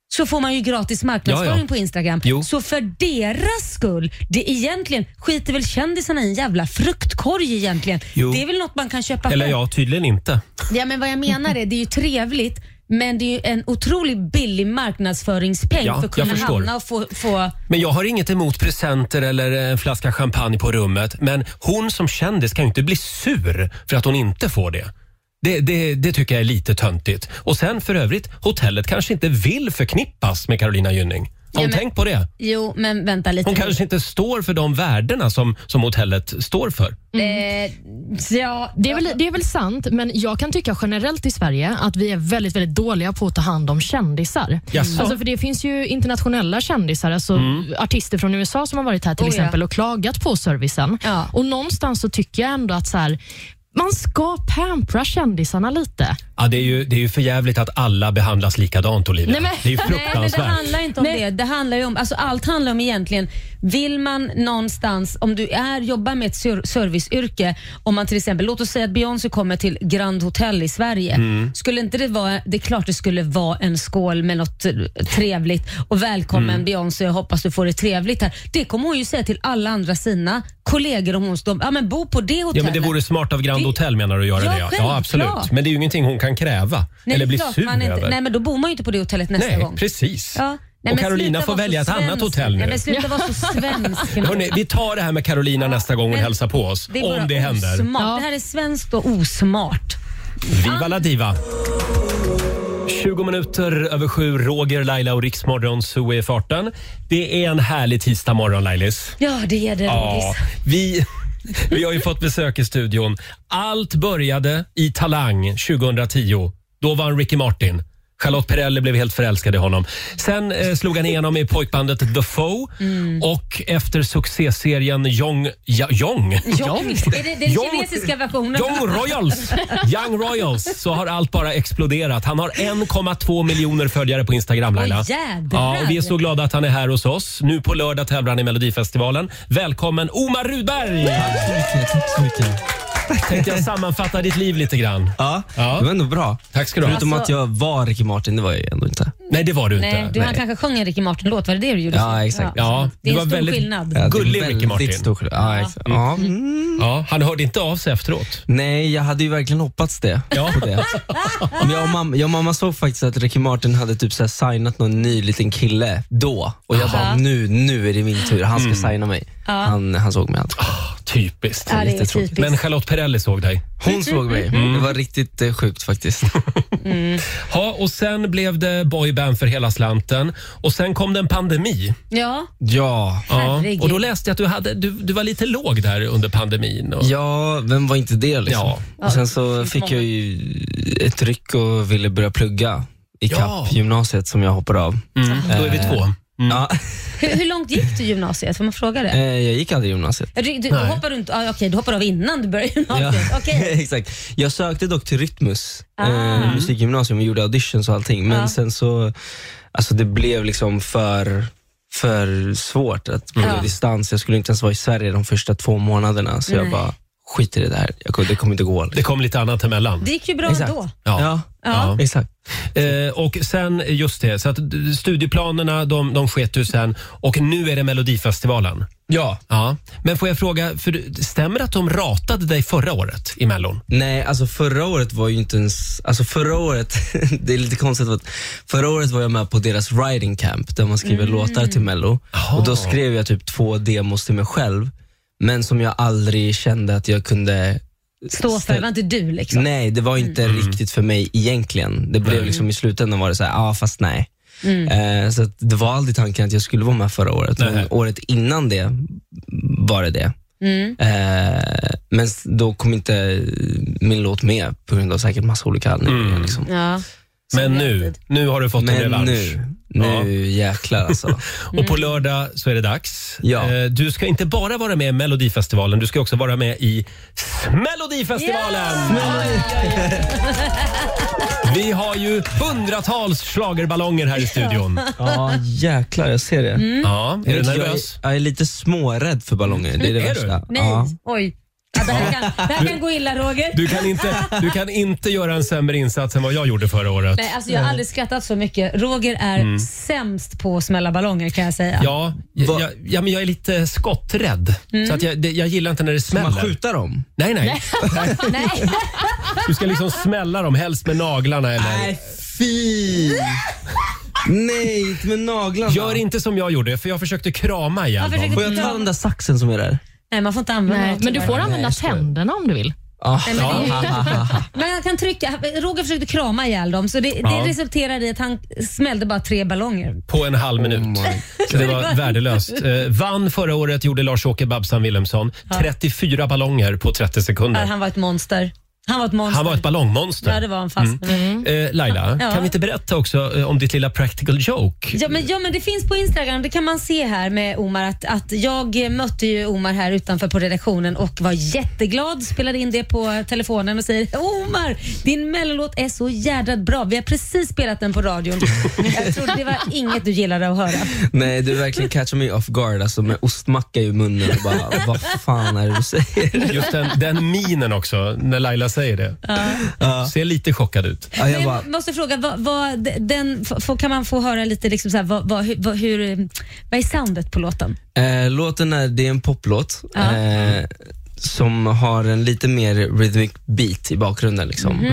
S3: så får man ju gratis marknadsföring
S1: Ja, ja.
S3: på Instagram.
S1: Jo.
S3: Så för deras skull, det egentligen skiter väl kändisarna i en jävla fruktkorg egentligen.
S1: Jo.
S3: Det är väl något man kan köpa
S1: Eller
S3: själv.
S1: ja, tydligen inte.
S3: Ja, men vad jag menar är, det är ju trevligt, men det är ju en otroligt billig marknadsföringspeng
S1: Ja,
S3: för att kunna
S1: jag förstår.
S3: hamna och få... få
S1: Men jag har inget emot presenter eller en flaska champagne på rummet. Men hon som kändis kan ju inte bli sur för att hon inte får det. Det, det, det tycker jag är lite töntigt. Och sen för övrigt, hotellet kanske inte vill förknippas med Carolina Gynning. Har hon
S3: men-
S1: tänkt på det?
S3: jo, men vänta lite.
S1: Hon
S3: nu.
S1: kanske inte står för de värdena som, som hotellet står för.
S3: Eh, så ja,
S4: Det är, väl, det är väl sant, men jag kan tycka generellt i Sverige att vi är väldigt, väldigt dåliga på att ta hand om kändisar.
S1: Jaså? Mm.
S4: Alltså, för Det finns ju internationella kändisar, alltså artister från USA som har varit här till
S3: Oh, ja.
S4: exempel och klagat på servicen.
S3: Ja.
S4: Och någonstans så tycker jag ändå att så här, man ska pampra kändisarna lite.
S1: Ja, det, är ju, det är ju för jävligt att alla behandlas likadant, Olivia.
S4: Nej, men-
S1: det är ju
S3: Nej, men det
S1: fruktansvärt.
S3: handlar inte om
S4: Nej.
S3: det. det handlar ju om, alltså allt handlar om egentligen, vill man någonstans, om du är, jobbar med ett ser- serviceyrke, om man till exempel, låt oss säga att Beyoncé kommer till Grand Hotel i Sverige.
S1: Mm.
S3: Skulle inte det vara, det är klart det skulle vara en skål med något eh, trevligt och välkommen
S1: Mm.
S3: Beyoncé, jag hoppas du får det trevligt här. Det kommer hon ju säga till alla andra sina kollegor om hon står, ja men bo på det
S1: Ja,
S3: hotellet.
S1: men det vore smart av Grand
S3: Det-
S1: Hotel menar du att göra
S3: Ja,
S1: det? Ja, ja
S3: självklart.
S1: absolut. Men det är ju ingenting hon kan kräva
S3: Nej,
S1: eller
S3: det är
S1: bli
S3: klart
S1: sur
S3: man inte,
S1: över.
S3: Nej men då bor man ju inte på det hotellet nästa
S1: Nej,
S3: gång.
S1: precis.
S3: Ja. Nej,
S1: och
S3: men
S1: Carolina
S3: sluta
S1: får
S3: vara
S1: välja ett
S3: så
S1: annat
S3: svensk.
S1: hotell nu.
S3: Nej, men sluta vara så svensk. nu.
S1: Hörrni, vi tar det här med Carolina nästa gång hon
S3: Men
S1: hälsar på oss.
S3: det är bara
S1: om det händer.
S3: Osmart. Det här är svenskt och osmart.
S1: Viva la diva! 20 minuter över sju, Roger, Laila och Riksmorgon, så är farten. Det är en härlig tisdag morgon, Lailis.
S3: Ja, det är det.
S1: Ja, vi, vi har ju fått besök i studion. Allt började i Talang 2010. Då var han Ricky Martin. Charlotte Perrelli blev helt förälskad i honom. Sen eh, slog han igenom i pojkbandet The Foe
S3: Mm.
S1: och efter succéserien Young... Ja, Young?
S3: Jong. Är det den
S1: Jong-
S3: kinesiska versionen?
S1: Young Royals! Young Royals så har allt bara exploderat. Han har 1,2 miljoner följare på Instagram Laila.
S3: Åh, jädrar.
S1: ja, och vi är så glada att han är här hos oss. Nu på lördag tävlar han i Melodifestivalen. Välkommen Omar Rudberg!
S13: Tack så mycket, tack så mycket.
S1: Tänkte jag sammanfatta ditt liv lite grann.
S13: Ja, det var ändå bra.
S1: Tack ska du ha.
S13: Förutom
S3: Alltså-
S13: att jag var Ricky Martin, det var jag ju ändå inte.
S1: Nej, det var du inte.
S3: Nej, du, han kanske sjöng en Ricky Martin-låt. Var det det du gjorde?
S13: Ja, exakt.
S1: Ja,
S3: Det är
S1: du var
S3: en stor
S1: väldigt
S3: skillnad.
S13: Ja, det är
S1: Gullig Ricky
S13: väldigt
S1: Martin. Mm.
S13: Stor, skillnad. ja, exakt. Ja.
S1: Ja, han hörde inte av sig efteråt.
S13: Nej, jag hade ju verkligen hoppats det.
S1: Ja.
S13: På det. Men jag, och mamma, jag och mamma såg faktiskt att Ricky Martin hade typ så här signat någon ny liten kille då. Och jag bara, nu, nu är det min tur. Han ska signa mig. Han, han såg mig. alltså.
S1: Mm. Ah, Typiskt.
S3: Ja, det är
S13: Jättetråkigt.
S3: typiskt.
S1: Men Charlotte Perrelli såg dig.
S13: Hon såg mig. Det var riktigt eh, sjukt faktiskt.
S3: Mm.
S1: Ja, och sen blev det boyband för hela slanten. Och sen kom det en pandemi.
S3: Ja,
S13: Ja.
S1: Ja,
S3: Herregud.
S1: och då läste jag att du, hade, du, du var lite låg där under pandemin. Och,
S13: Ja, vem var inte det? Liksom?
S1: Ja.
S13: Och sen så
S3: finns
S13: fick
S3: många.
S13: jag ju ett ryck och ville börja plugga i kapp
S1: Ja.
S13: gymnasiet som jag hoppade av. Eh,
S1: Mm, då är vi två.
S13: Ja,
S3: hur, hur långt gick du i gymnasiet? Får man fråga
S13: eh,
S3: det?
S13: jag gick aldrig gymnasiet.
S3: Du, du, hoppar du, inte, ah, okej, du hoppar av innan du börjar gymnasiet.
S13: Ja,
S3: Okej.
S13: exakt. Jag sökte dock till Rytmus
S3: Ah.
S13: eh, musikgymnasium och gjorde auditions och allting, men
S3: Ja.
S13: sen så alltså det blev liksom för för svårt att plugga
S3: Ja.
S13: distans. Jag skulle inte ens vara i Sverige de första två månaderna, så
S3: Nej.
S13: jag bara skiter i det här. Jag, kommer- det kommer inte gå.
S1: Det
S13: Liksom.
S1: kom lite annat emellan.
S3: Det gick ju bra
S13: Exakt.
S3: ändå.
S1: Ja.
S13: Ja.
S1: Ja.
S13: exakt.
S1: Eh, och sen, just det, så att d- studieplanerna de, de sket du sen och nu är det Melodifestivalen.
S13: Ja.
S1: Ja. Men får jag fråga, för du- stämmer det att de ratade dig förra året i Mellon?
S13: Nej, alltså förra året var ju inte ens... Alltså förra året, det är lite konstigt, för att förra året var jag med på deras writing camp där man
S3: Mm.
S13: skriver låtar till Mello. Och då skrev jag typ två demos till mig själv, men som jag aldrig kände att jag kunde...
S3: Stå för, det var inte du liksom.
S13: Nej, det var inte riktigt för mig egentligen. Det blev liksom i slutändan var det så här, ja ah, fast nej.
S3: Mm.
S13: Eh, så att det var aldrig tanken att jag skulle vara med förra året.
S1: Nej.
S13: Men året innan det var det det. Eh, men s- då kom inte min låt med på grund av säkert massa olika anledningar.
S1: Mm.
S13: Liksom.
S3: Ja.
S1: Men nu, nu har du fått en
S13: Men
S1: revansch.
S13: nu, nu jäklar alltså.
S1: Och på lördag så är det dags.
S13: Ja.
S1: Eh, Du ska inte bara vara med i Melodifestivalen, du ska också vara med i Melodifestivalen! Vi har ju hundratals schlagerballonger här i studion.
S13: ja, jäklar, jag ser det.
S1: Ja, är du
S13: Jag,
S1: nervös?
S13: jag är lite smårädd för ballonger. Det är det
S1: Är du?
S13: värsta.
S3: Nej,
S13: Ja.
S3: oj. Ja, det, här kan, det här kan gå illa Roger.
S1: Du kan, inte, du kan inte göra en sämre insats än vad jag gjorde förra året.
S3: Nej, alltså jag har aldrig skrattat så mycket. Roger är sämst på att smälla ballonger kan jag säga.
S1: Ja, jag,
S13: Va-
S1: jag, ja, men jag är lite skotträdd. Så att jag, det, jag gillar inte när det
S13: Ska man
S1: smäller.
S13: skjuta dem?
S1: Nej, nej.
S3: Nej.
S1: Du ska liksom smälla dem, helst med naglarna. Eller.
S13: Nej, fy! Nej, inte med naglarna.
S1: Gör inte som jag gjorde, för jag försökte krama
S3: Jag
S1: ihjäl
S3: försökte-
S1: dem.
S13: Får jag ta den där saxen som är där?
S3: Nej, man får inte använda
S4: Nej,
S3: något
S4: men du
S3: tyvärr.
S4: får använda tänderna om du vill.
S13: Ah.
S3: Nej, men, det är ju, men han kan trycka. Roger försökte krama ihjäl dem så det,
S1: Ja.
S3: det resulterade i att han smällde bara tre ballonger.
S1: På en halv
S13: Oh
S1: minut. Så det var värdelöst. Eh, vann förra året gjorde Lars-Åke Babsan Wilhelmsson. 34 ballonger på 30
S3: Där
S1: sekunder.
S3: Äh, Han var ett monster. Han var ett monster.
S1: Han var ett
S3: Ja,
S1: ballongmonster.
S3: det var han fast. Mm.
S1: Eh, Laila,
S3: Ja.
S1: kan vi inte berätta också eh, om ditt lilla practical joke?
S3: Ja men, ja men det finns på Instagram, det kan man se här med Omar att, att jag eh, mötte ju Omar här utanför på redaktionen och var jätteglad, spelade in det på telefonen och säger Omar, din mellolåt är så jädra bra, vi har precis spelat den på radion. jag trodde det var inget du gillade att höra.
S13: Nej, du verkligen catchar mig off guard alltså, med ostmacka i munnen och bara, vad fan är det du säger?
S1: Just den, den minen också, när Laila säger det. Ser lite chockad ut.
S13: Ja, jag
S3: Men
S13: bara,
S3: jag måste fråga, vad, vad, den, f- f- kan man få höra lite liksom så här, vad, vad, hur, vad, hur, vad är soundet på låten?
S13: eh, låten är, det är en poplåt
S3: Ja.
S13: eh, som har en lite mer rhythmic beat i bakgrunden. Liksom.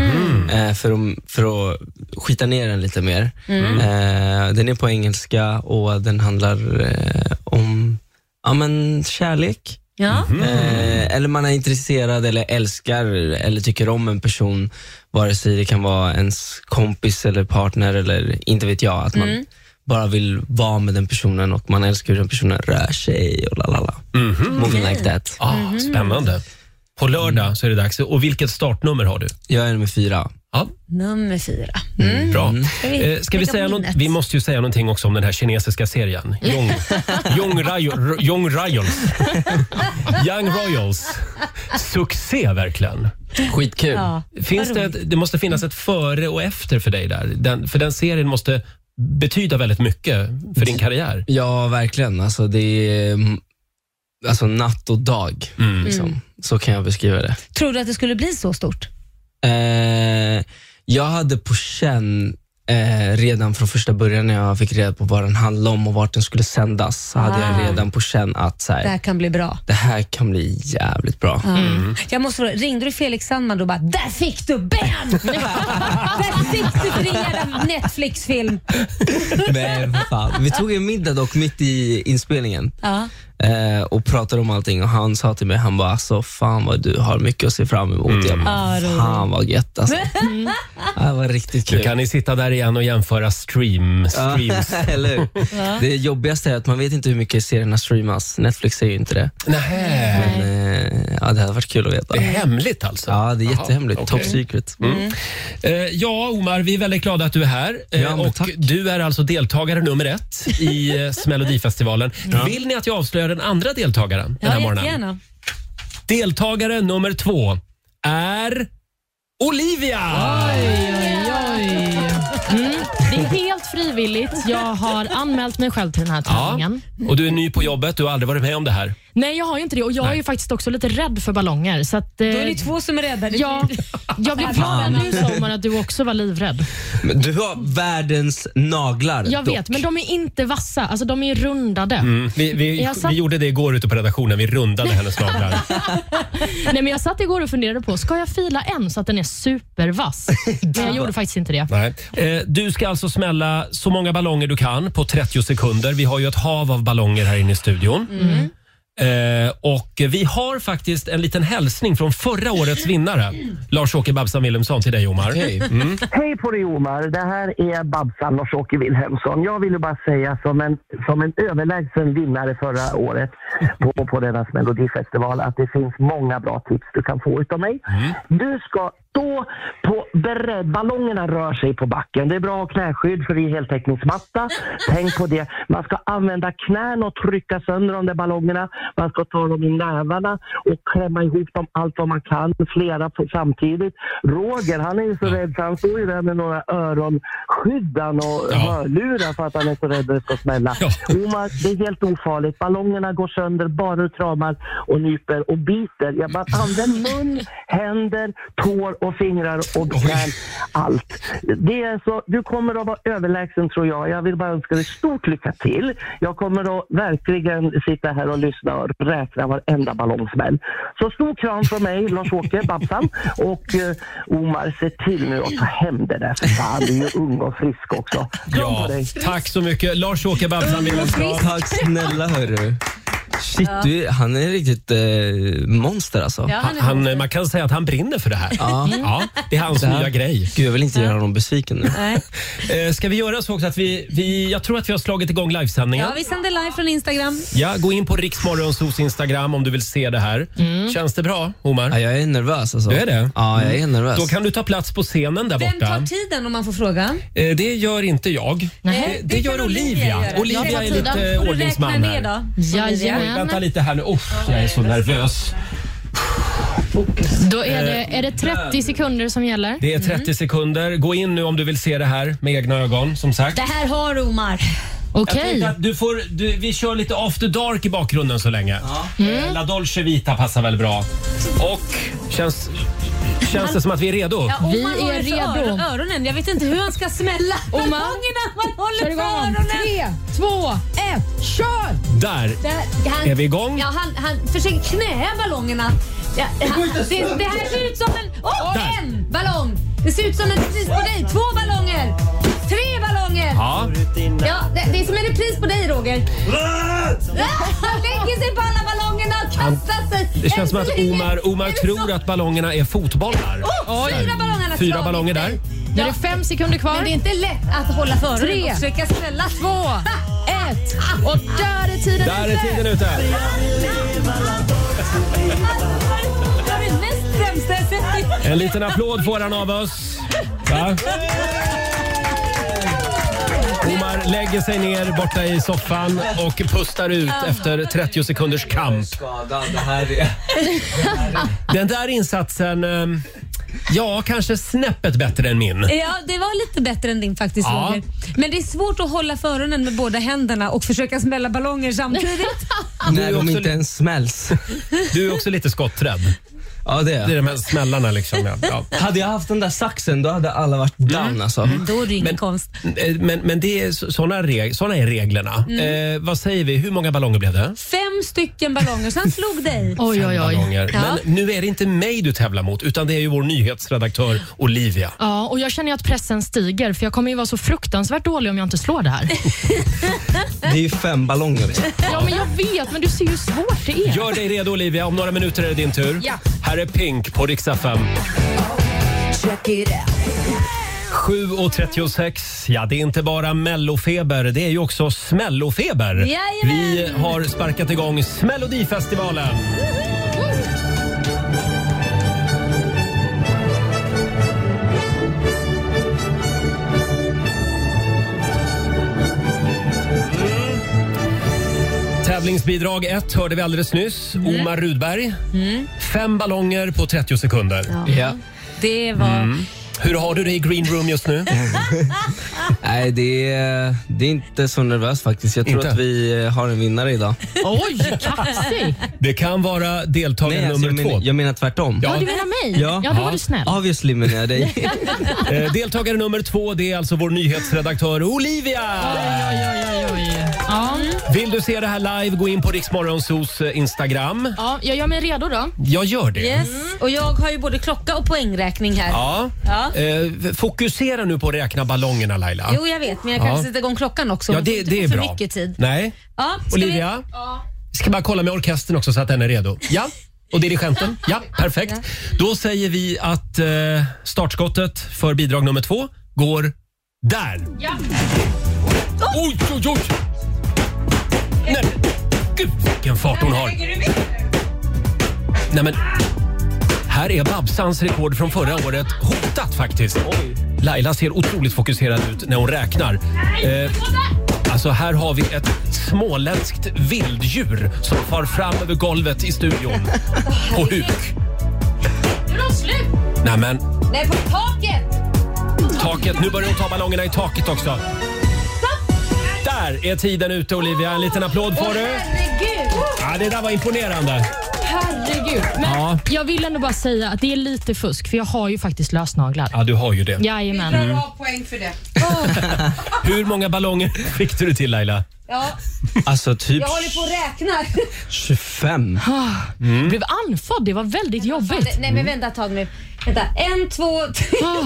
S13: Eh, för, att, för att skita ner den lite mer. Eh, den är på engelska och den handlar eh, om ja, men kärlek.
S3: Ja.
S1: Mhm.
S13: Eh, eller man är intresserad eller älskar eller tycker om en person, vare sig det kan vara ens kompis eller partner eller inte vet jag. Att man
S3: Mm.
S13: bara vill vara med den personen och man älskar hur den personen rör sig och la la la. Moving like that.
S1: Mhm.
S13: Mhm.
S1: Ah, Spännande. På lördag så är det dags. Och vilket startnummer har du?
S13: Jag är nummer fyra.
S1: Ja,
S3: Nummer fyra. Mm.
S1: bra.
S3: Ska vi
S1: Eh, Ska vi,
S3: lägga på
S1: säga någon,
S3: minnet?
S1: vi måste ju säga någonting också om den här kinesiska serien. Young, Young, Rayo- Young Royals. Young Royals. Succé verkligen.
S13: Skitkul.
S3: Ja,
S1: Finns
S3: vad
S1: det,
S3: roligt.
S1: ett- det måste finnas ett före och efter för dig där. Den, för den serien måste betyda väldigt mycket för din karriär.
S13: Ja, verkligen. Alltså, det är mm, alltså, natt och dag.
S1: Mm.
S13: Liksom. Så kan jag beskriva det.
S3: Tror du att det skulle bli så stort?
S13: Eh, jag hade på känn eh, redan från första början när jag fick reda på vad den handlade om och vart den skulle sändas, så hade
S3: Ah.
S13: jag redan på känn att så
S3: Det här
S13: här,
S3: kan bli bra.
S13: det här kan bli jävligt bra.
S3: Ja. Jag måste fråga, ringde du Felix Sandman då och bara “Där fick du Ben!” Nu bara, Där fick du för din jävla Netflix-film.
S13: Men vad fan. Vi tog en middag dock mitt i inspelningen
S3: Ja.
S13: eh, och pratade om allting och han sa till mig, han bara alltså, fan vad du har mycket att se fram emot. Jag
S3: Ah,
S13: bara,
S3: roligt.
S13: fan vad gött alltså.
S3: Mm.
S1: mm.
S13: Det var riktigt
S1: Nu
S13: kul.
S1: kan ni sitta där igen och jämföra stream,
S13: Ja,
S1: streams.
S13: eller hur?
S3: Ja.
S13: Det jobbigaste är att man vet inte hur mycket serierna streamas. Netflix säger ju inte det.
S1: Nähä.
S13: Men, eh, ja, det hade varit kul att veta.
S1: Det är hemligt alltså?
S13: Ja, det är
S1: Jaha,
S13: jättehemligt.
S1: okej.
S13: Top secret. Mm.
S1: Eh, ja, Omar, vi är väldigt glada att du är här. Eh,
S13: Ja, men
S1: och
S13: tack.
S1: Du är alltså deltagare nummer ett i eh, Melodifestivalen. Vill ni att jag avslöjar den andra deltagaren den här
S3: Ja,
S1: morgonen?
S3: jättegärna.
S1: Deltagare nummer två är Olivia!
S4: Oj, oj. Mm. Det är helt frivilligt. Jag har anmält mig själv till den här
S1: Ja,
S4: tävlingen.
S1: och du är ny på jobbet. Du har aldrig varit med om det här.
S4: Nej, jag har ju inte det och jag är ju faktiskt också lite rädd för ballonger. Så att, eh,
S3: Då är ni två som är rädda. Det-
S4: Ja, jag blev glad nu sommar att du också var livrädd.
S13: Men du har världens naglar
S4: Jag vet,
S13: dock.
S4: men de är inte vassa. Alltså, de är rundade.
S1: Mm, Vi, vi,
S4: Jag satt-
S1: vi gjorde det igår ute på redaktionen. Vi rundade hennes naglar.
S4: Nej, men jag satt igår och funderade på, ska jag fila en så att den är supervass? Men jag gjorde faktiskt inte det.
S1: Nej. Eh, Du ska alltså smälla så många ballonger du kan på 30 sekunder. Vi har ju ett hav av ballonger här inne i studion.
S14: Mm.
S1: Eh, och vi har faktiskt en liten hälsning från förra årets vinnare, Lars-Åke Babsan Wilhelmsson, till dig Omar.
S13: Okej.
S1: Mm.
S14: Hej på dig Omar, det här är Babsan Lars-Åke Wilhelmsson. Jag ville bara säga som en, som en överlägsen vinnare förra året på, på denna melodifestival att det finns många bra tips du kan få utav mig. Du ska stå på beredd, ballongerna rör sig på backen. Det är bra att ha knäskydd för det är heltäckningsmatta. Tänk på det. Man ska använda knän och trycka sönder de där ballongerna. Man ska ta dem i nävarna och klämma ihop dem allt vad man kan, flera på samtidigt. Roger, han är ju så rädd så han står ju där med några öronskyddan och hörlurar för att han är så rädd att det ska smälla. Omar, det är helt ofarligt. Ballongerna går sönder bara du kramar och nyper och biter. Ja, man använder mun, händer, tår och fingrar och knän. Allt. Det är så, du kommer att vara överlägsen tror jag. Jag vill bara önska dig stort lycka till. Jag kommer att verkligen sitta här och lyssna och räkna varenda ballongsmäll. Så stor kram från mig, Lars-Åke Babsan och eh, Omar, se till nu att ta hem det där för fan. Du är ju ung och frisk också. Kram
S1: Ja,
S14: på dig.
S1: tack så mycket, Lars-Åke Babsan Wilhelmsson.
S13: Mm. Tack snälla hörru. Shit, du, är- han är riktigt eh, monster alltså.
S3: Ja, han
S1: Han,
S3: är han,
S1: man kan säga att han brinner för det här. Mm.
S13: Ja.
S1: Ja, det är hans
S13: Det här-
S1: nya grej.
S13: Gud, jag vill inte göra honom besviken nu.
S1: Eh, Ska vi göra så också att vi, vi... Jag tror att vi har slagit igång livesändningen.
S3: ja, vi sänder live från Instagram.
S1: Ja, gå in på Riksmorgonsos Instagram om du vill se det här.
S3: Mm.
S1: Känns det bra, Omar?
S13: Ja, jag är nervös alltså.
S1: Du är det? Mm.
S13: Ja, jag är nervös.
S1: Då kan du ta plats på scenen där
S3: Vem tar
S1: borta.
S3: tiden om man får fråga? Eh,
S1: Eh, Det gör inte jag. Eh,
S4: Nej.
S1: Det gör
S3: kan
S1: Olivia.
S3: göra.
S1: Olivia
S3: Jag
S1: är
S3: tar tiden.
S1: lite
S3: Får du
S1: ordningsman
S3: räkna ner
S1: här.
S3: då?
S1: Oj,
S4: Jajamän.
S1: Vänta lite här nu. Oh, jag är så nervös.
S4: Då är det, är det 30 sekunder som gäller.
S1: Det är 30
S3: Mm.
S1: sekunder. Gå in nu om du vill se det här med egna ögon, som sagt.
S3: Det här har Omar.
S1: Jag
S4: Okej.
S1: tänkte att du får, du, vi kör lite after dark i bakgrunden så länge. Eh,
S3: Mm.
S1: La Dolce Vita passar väl bra. Och känns, känns det som att vi är redo?
S3: Ja, oh. Omar
S4: Vi
S3: håller
S4: är
S3: för
S4: redo.
S3: öron- Öronen. Jag vet inte hur han ska smälla
S4: Omar,
S3: ballongerna. Man
S4: Kör
S3: håller för
S4: igång.
S3: öronen.
S4: Tre, två, ett, kör!
S1: Där
S3: Där, han,
S1: är vi igång.
S3: Ja, han, han försöker knä ballongerna. Ja, han, det, det här ser ut som en... Oh,
S1: Där.
S3: en ballong! Det ser ut som en repris på dig. Två ballonger! Tre ballonger!
S1: Ja.
S3: Ja, det, det är som en repris på dig, Roger. Ah, Han lägger sig på alla ballongerna och
S1: Han-
S3: Passa sig!
S1: Det känns som att
S3: Äntligen!
S1: Omar, Omar tror att ballongerna är fotbollar.
S3: Oh,
S1: Där.
S3: fyra ballonger har
S1: Fyra
S3: slagit
S1: ballonger
S3: dig.
S1: där.
S4: Nu är det fem sekunder kvar.
S3: Men det är inte lätt att hålla för
S4: Tre.
S3: och försöka smälla.
S4: Två, ett och där är tiden
S1: Där är tiden ute.
S3: Det var det näst främsta jag sett.
S1: En liten applåd får han av oss. Va? Omar lägger sig ner borta i soffan och pustar ut efter 30 sekunders kamp.
S13: Skadad, det här är...
S1: Den där insatsen, eh, ja kanske snäppet bättre än min.
S3: Ja, det var lite bättre än din faktiskt
S1: Ja.
S3: Roger. Men det är svårt att hålla för öronen med båda händerna och försöka smälla ballonger samtidigt.
S13: När de inte ens smälls.
S1: Du är också lite skotträdd.
S13: Ja, det är
S1: Det är
S13: jag.
S1: de här smällarna liksom. Ja. Ja. Mm.
S13: Hade jag haft den där saxen, då hade alla varit down alltså.
S3: Då är det ingen konst.
S1: Eh, Men, men det är, så- såna, reg, såna är reglerna.
S3: Mm.
S1: Eh, vad säger vi, hur många ballonger blev det?
S3: Fem stycken ballonger, så han slog dig.
S4: Oj, oj, oj.
S1: Ballonger.
S3: Ja.
S1: Men nu är det inte mig du tävlar mot utan det är ju vår nyhetsredaktör Olivia.
S4: Ja, och jag känner ju att pressen stiger för jag kommer ju vara så fruktansvärt dålig om jag inte slår det här.
S13: Det är ju fem ballonger.
S4: Ja, men jag vet, men du ser ju hur svårt det är.
S1: Gör dig redo Olivia, om några minuter är det din tur.
S4: Ja.
S1: Här är Pink på riksdag 5. 7.36, ja det är inte bara mellofeber, det är ju också smällofeber.
S3: Jajamän.
S1: Vi har sparkat igång Smällodifestivalen. Tävlingsbidrag 1 hörde vi alldeles nyss. Omar Rudberg. Fem ballonger på 30 sekunder.
S13: Ja.
S3: Det var...
S1: Mm. Hur har du det i green room just nu?
S13: Nej, det är, det är inte så nervöst faktiskt. Jag tror
S1: Inte?
S13: att vi har en vinnare idag.
S4: Oj, kaxig.
S1: Det kan vara deltagare
S13: alltså,
S1: nummer
S13: jag,
S1: två.
S13: menar, jag menar tvärtom.
S4: Ja, du menar mig? Ja, då var du snäll.
S13: Obviously menar jag dig.
S1: Eh, deltagare nummer två det är alltså vår nyhetsredaktör Olivia!
S4: Oj, oj. Ja.
S1: Vill du se det här live, gå in på Riksmorgonsos eh, Instagram.
S4: ja, jag gör mig redo då.
S1: Jag gör det.
S3: Yes. Och jag har ju både klocka och poängräkning här.
S1: Ja.
S3: Ja.
S1: Eh, fokusera nu på att räkna ballongerna Laila.
S3: Jo, jag vet, men jag
S1: Ja.
S3: kanske sätter igång klockan också.
S1: ja,
S3: Man får
S1: det,
S3: inte
S1: det
S3: få
S1: är
S3: för
S1: bra.
S3: mycket tid.
S1: Nej.
S3: Ja, ska
S1: Olivia?
S3: Vi... Ja.
S1: Ska bara kolla med orkestern också så att den är redo. Ja, och dirigenten. Ja, perfekt. Då säger vi att eh, startskottet för bidrag nummer två går där.
S4: Ja.
S1: Oj, oj, oj! Nej, men gud vilken fart hon har. Nej men, här är Babsans rekord från förra året hotat faktiskt. Laila ser otroligt fokuserad ut när hon räknar. Eh, alltså här har vi ett småländskt vilddjur som far fram över golvet i studion. På huk.
S4: Nu är de slut.
S1: Nej men,
S3: Nej, på taket!
S1: taket. Nu börjar hon ta ballongerna i taket också. Där är tiden ute Olivia. En liten applåd får du.
S3: Herregud!
S1: Ja, det där var imponerande.
S4: Herregud. Men
S1: Ja.
S4: jag vill ändå bara säga att det är lite fusk för jag har ju faktiskt lösnaglar.
S1: Ja, du har ju det.
S4: Jajamän. Mm.
S7: Bra poäng för det.
S1: Hur många ballonger fick du till Laila?
S3: Ja,
S13: Alltså typ
S3: jag håller på och räknar.
S13: 25.
S1: Mm.
S4: Blev anfådd, det var väldigt jobbigt.
S3: Nej, men vänta ett tag nu. Vänta. En, två, tre.
S4: Ah,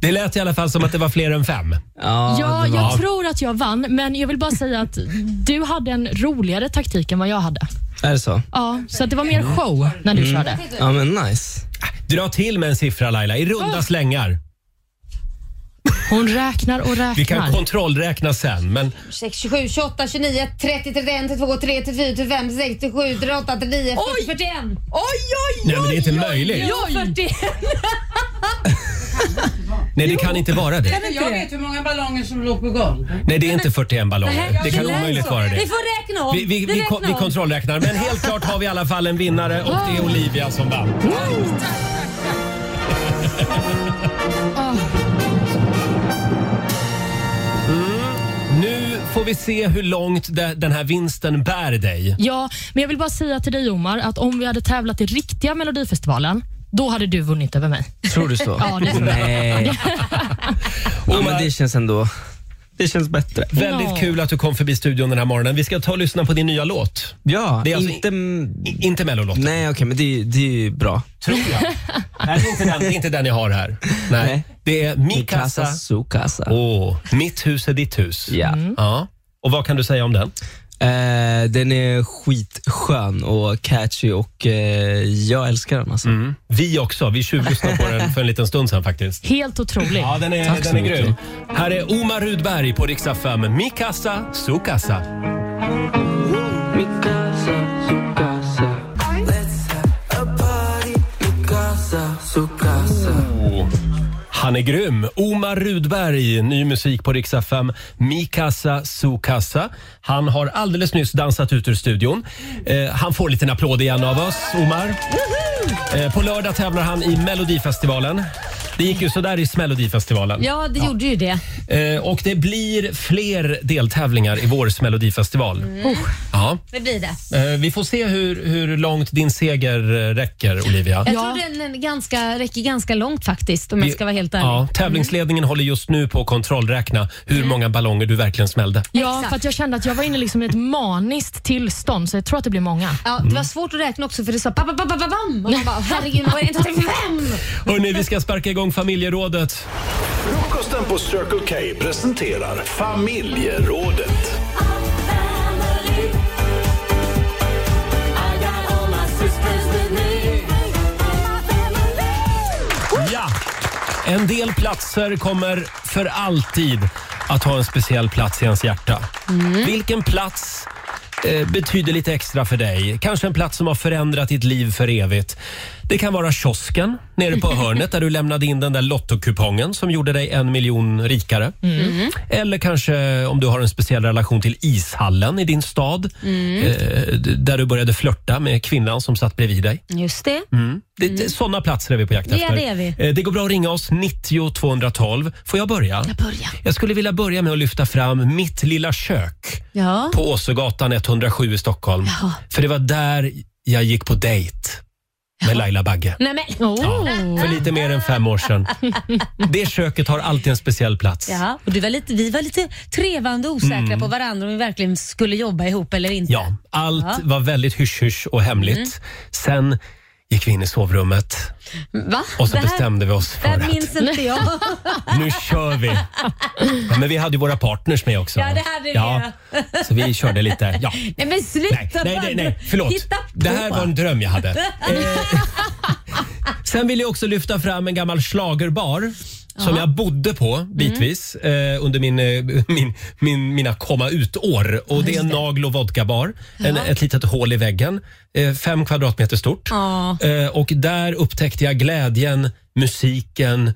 S1: Det lät i alla fall som att det var fler än fem.
S13: Ja,
S4: Ja,
S13: det var-
S4: jag tror att jag vann, men jag vill bara säga att du hade en roligare taktik än vad jag hade.
S13: Är det så?
S4: Ja, så att det var mer show när du körde.
S13: Mm. Ja, men nice.
S1: Dra till med en siffra Laila, i runda slängar.
S4: Hon räknar och
S1: Vi kan
S4: räknar.
S1: kontrollräkna sen, men
S3: 26, 27, 28, 29, 30, 31, 32, 33, 34, 35, 67, 38, 39, 40, 41.
S1: nej, men det är inte möjligt.
S3: Jo, 41.
S1: Nej, det kan inte vara det.
S7: Jag vet hur många ballonger som låg på golv.
S1: Nej, det är inte 41 ballonger. Det kan omöjligt vara
S3: Vi
S1: det.
S3: får räkna om.
S1: Vi, vi, vi, ko- vi kontrollräknar, men helt klart har vi i alla fall en vinnare och det är Olivia som vann. Mm, nu får vi se hur långt de- den här vinsten bär dig.
S4: Ja, men jag vill bara säga till dig Omar att om vi hade tävlat i riktiga Melodifestivalen, då hade du vunnit över mig.
S13: Tror du så?
S4: Ja, det tror jag.
S13: Nej. Ja, men det känns ändå... Det känns bättre.
S1: Väldigt
S4: Ja.
S1: kul att du kom förbi studion den här morgonen. Vi ska ta och lyssna på din nya låt.
S13: Ja,
S1: Det är alltså
S13: inte...
S1: I- Inte mellolåten,
S13: Nej, okej, men det, är- det är ju bra.
S1: tror jag. Nej, det är inte den, det är inte den jag har här. Nej.
S13: Nej.
S1: Det är Mi casa.
S13: su casa.
S1: Åh, Mitt hus är ditt hus.
S13: Ja.
S1: Ja. Och vad kan du säga om den?
S13: Eh, den är skitskön och catchy och eh, jag älskar den. Alltså.
S1: Mm. Vi också. Vi tjuvlyssnade på den för en liten stund sedan faktiskt.
S4: Helt otroligt.
S1: Ja, den är,
S4: Tack så
S1: den är
S4: mycket.
S1: grym. Här är Omar Rudberg på riksdag 5. Mi casa, su casa. Oh, Han är grym! Omar Rudberg, ny musik på Rix FM. Mikasa Sukasa. Han har alldeles nyss dansat ut ur studion. Eh, han får en liten applåd igen av oss, Omar. Eh, på lördag tävlar han i Melodifestivalen. Det gick ju sådär i Melodifestivalen.
S3: Ja, det gjorde ju det.
S1: Eh, och det blir fler deltävlingar i vårens Melodifestival.
S3: Mm.
S1: Ja.
S3: Det blir det.
S1: Eh, vi får se hur, hur långt din seger eh, räcker, Olivia.
S3: Jag tror den är ganska, räcker ganska långt faktiskt om jag
S1: Vi-
S3: ska vara helt ärlig.
S1: Ja, tävlingsledningen håller just nu på att kontrollräkna
S3: Mm.
S1: hur många ballonger du verkligen smällde.
S4: Ja, för att jag kände att jag var inne liksom i ett maniskt tillstånd, så jag tror att det blir många.
S3: Ja, det
S1: Mm.
S3: var svårt att räkna också för det sa pa, pa, pa, pa, pa, bam. Och man bara, herregud, man var inte 35!
S1: Hörrni, vi ska sparka igång familjerådet.
S15: Frukosten på Circle K presenterar familjerådet.
S1: Ja! En del platser kommer för alltid att ha en speciell plats i ens hjärta. Vilken plats eh, betyder lite extra för dig? Kanske en plats som har förändrat ditt liv för evigt. Det kan vara kiosken nere på hörnet där du lämnade in den där lottokupongen som gjorde dig en miljon rikare. Eller kanske om du har en speciell relation till ishallen i din stad.
S3: Mm.
S1: Eh, d- där du började flörta med kvinnan som satt bredvid dig.
S3: Just det.
S1: Mm. Det, det, sådana platser är vi på jakt
S3: Ja,
S1: efter.
S3: det är vi.
S1: Eh, Det går bra att ringa oss, 90 212. Får jag börja? Jag,
S3: börjar.
S1: jag skulle vilja börja med att lyfta fram mitt lilla kök
S3: Ja.
S1: på Åsögatan 107 i Stockholm.
S3: Ah. Jaha.
S1: För det var där jag gick på dejt med Laila Bagge.
S3: Nej men. Oh.
S1: För lite mer än fem år sedan. Det köket har alltid en speciell plats.
S3: Ja, och du var lite, vi var lite trevande och osäkra
S1: Mm.
S3: på varandra om vi verkligen skulle jobba ihop eller inte.
S1: Ja, allt
S3: Ja.
S1: var väldigt hysch-hysch och hemligt.
S3: Mm.
S1: Sen gick vi in i sovrummet
S3: Va?
S1: och så
S3: Det här-
S1: bestämde vi oss
S3: Det
S1: för
S3: här
S1: att
S3: minns inte jag.
S1: nu kör vi. Ja, men vi hade ju våra partners med också.
S3: Ja, det hade vi.
S1: Ja, Så vi körde lite. Ja.
S3: Nej men sluta
S1: Nej, nej,
S3: Barbro.
S1: nej, förlåt.
S3: Hitta på.
S1: Det här var en dröm jag hade. Sen vill jag också lyfta fram en gammal schlagerbar som
S3: Ja.
S1: jag bodde på bitvis eh, under min, eh, min, min, mina komma ut-år. Och det är en nagel och vodkabar. En,
S3: Ja.
S1: ett litet hål i väggen, eh, fem kvadratmeter stort.
S3: Ja.
S1: Eh, och där upptäckte jag glädjen, musiken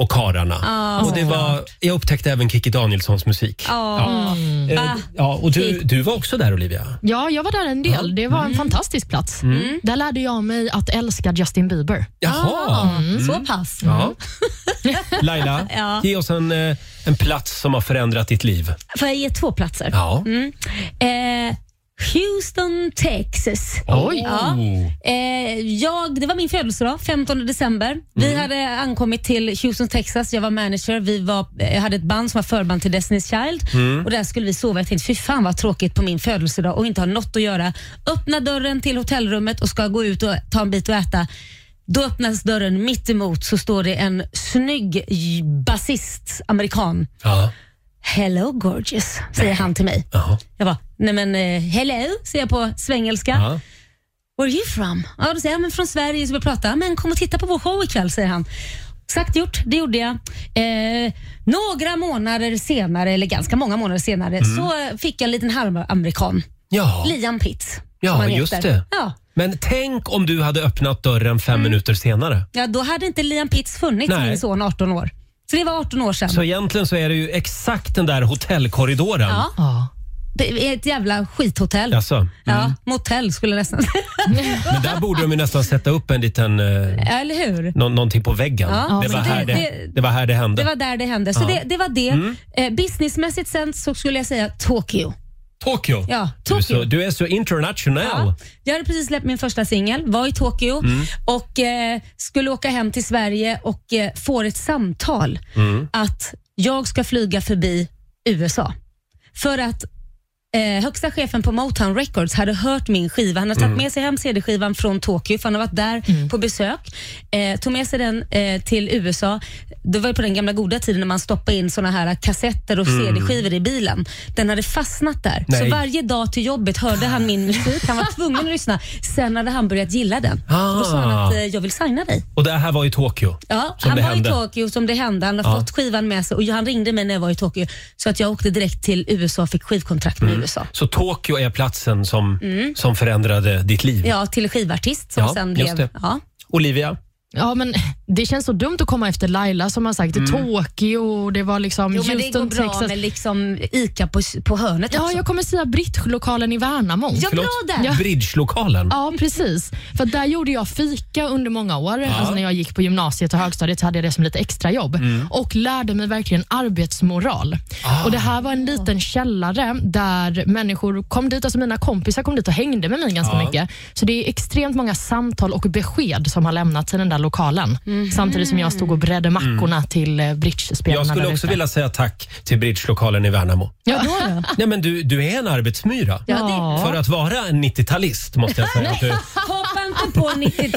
S1: och kararna.
S3: Ja,
S1: och det var, jag upptäckte även Kikki Danielssons musik.
S4: Ja.
S1: Eh,
S4: Va?
S1: ja, och du, du var också där Olivia.
S4: Ja, jag var där en del. Det var en fantastisk plats.
S1: Mm.
S4: Där lärde jag mig att älska Justin Bieber.
S1: Jaha. Mm.
S3: Så pass.
S1: Ja. Laila,
S3: Ja.
S1: ge oss en, eh, en plats som har förändrat ditt liv.
S3: Får jag ge två platser?
S1: Ja.
S3: Mm. Eh, Houston, Texas.
S1: Oj.
S3: Ja. Eh, jag, det var min födelsedag, 15 december. Vi
S1: Mm.
S3: hade ankommit till Houston, Texas. Jag var manager. Vi var, eh, hade ett band som var förband till Destiny's Child.
S16: Mm.
S3: Och Där skulle vi sova. Jag tänkte, fy fan vad tråkigt på min födelsedag och inte ha något att göra. Öppna dörren till hotellrummet och ska gå ut och ta en bit och äta. Då öppnas dörren mitt emot så står det en snygg j- basist, amerikan.
S1: Ja.
S3: Hello gorgeous, säger han till mig. Jag bara, nej men eh, hello, säger jag på svengelska.
S1: Ja.
S3: Where are you from? Ja, då säger jag, men från Sverige. Så vi prata. Men kom och titta på vår show ikväll, säger han. Sagt gjort, det gjorde jag. Eh, några månader senare, eller ganska många månader senare,
S1: Mm.
S3: så eh, fick jag en liten halvamerikan.
S1: Ja.
S3: Liam Pitts. som
S1: Ja,
S3: han
S1: just
S3: heter.
S1: det.
S3: Ja.
S1: Men tänk om du hade öppnat dörren fem
S3: Mm.
S1: minuter senare.
S3: ja, då hade inte Liam Pitts funnits,
S1: Nej.
S3: min son 18 år. Så det var 18 år sedan.
S1: Så egentligen så är det ju exakt den där hotellkorridoren.
S3: Ja. Det är Ett jävla skithotell.
S1: Jaså? Mm.
S3: Ja, motell skulle jag nästan säga.
S1: Men där borde de ju nästan sätta upp en liten... Eh,
S3: Ja, Eller hur?
S1: nå- någonting på väggen.
S3: Ja,
S1: det, var
S3: men
S1: här
S3: det-
S1: det,
S3: det-
S1: det, var här det hände.
S3: Det var där det hände. Så
S1: Ja.
S3: det, det var det.
S1: Mm.
S3: Eh, businessmässigt sen så skulle jag säga Tokyo.
S1: Tokyo.
S3: Ja,
S1: Du, är så,
S3: Tokyo.
S1: du är så international.
S3: Jag hade precis släppt min första singel, var i Tokyo
S1: Mm.
S3: och eh, skulle åka hem till Sverige och eh, får ett samtal
S1: Mm.
S3: att jag ska flyga förbi USA. För att Eh, högsta chefen på Motown Records hade hört min skiva. Han har
S1: Mm.
S3: tagit med sig hem CD-skivan från Tokyo, för han har varit där på besök. Eh, tog med sig den eh, till USA. Det var ju på den gamla goda tiden när man stoppade in såna här kassetter och
S1: Mm.
S3: CD-skivor i bilen. Den hade fastnat där.
S1: Nej.
S3: Så varje dag till jobbet hörde han min musik. Han var tvungen att lyssna. Sen hade han börjat gilla den.
S1: Ah.
S3: Då sa han att eh, jag vill signa dig.
S1: Och det här var i Tokyo.
S3: Ja,
S1: Som
S3: han
S1: det
S3: var
S1: hände.
S3: i Tokyo som det hände. Han har
S1: Ja.
S3: fått skivan med sig och han ringde mig när jag var i Tokyo. Så att jag åkte direkt till USA och fick skivkontrakt med
S1: Mm.
S3: USA.
S1: Så Tokyo är platsen som,
S3: Mm.
S1: som förändrade ditt liv.
S3: Ja, till skivartist som
S1: Ja,
S3: sen
S1: just
S3: blev...
S1: det.
S3: Ja.
S1: Olivia?
S4: Ja, men det känns så dumt att komma efter Laila som har sagt
S1: Mm.
S4: Tokyo och det var liksom
S3: Jo, men det går
S4: Houston,
S3: bra
S4: Texas.
S3: med liksom ICA på, på hörnet
S4: Ja,
S3: också.
S4: jag kommer säga Brittlokalen i Värnamo. Ja.
S1: Bridgelokalen.
S4: Ja, precis. För där gjorde jag fika under många år. Alltså när jag gick på gymnasiet och högstadiet så hade jag det som lite extrajobb
S17: Mm.
S4: och lärde mig verkligen arbetsmoral.
S1: Ah.
S4: Och Det här var en liten källare där människor kom dit, alltså mina kompisar kom dit och hängde med mig ganska
S17: Ja.
S4: mycket. Så det är extremt många samtal och besked som har lämnats i den där lokalen. Samtidigt som jag stod och bredde mackorna till eh, bridgespelarna
S1: Mm. Jag skulle
S4: där
S1: också
S4: ute.
S1: vilja säga tack till Bridgelokalen i Värnamo.
S4: Ja, då då.
S1: Nej, men du, du är en arbetsmyra.
S4: Ja, det-
S1: För att vara en 90-talist måste jag säga att du,
S3: Hoppa inte på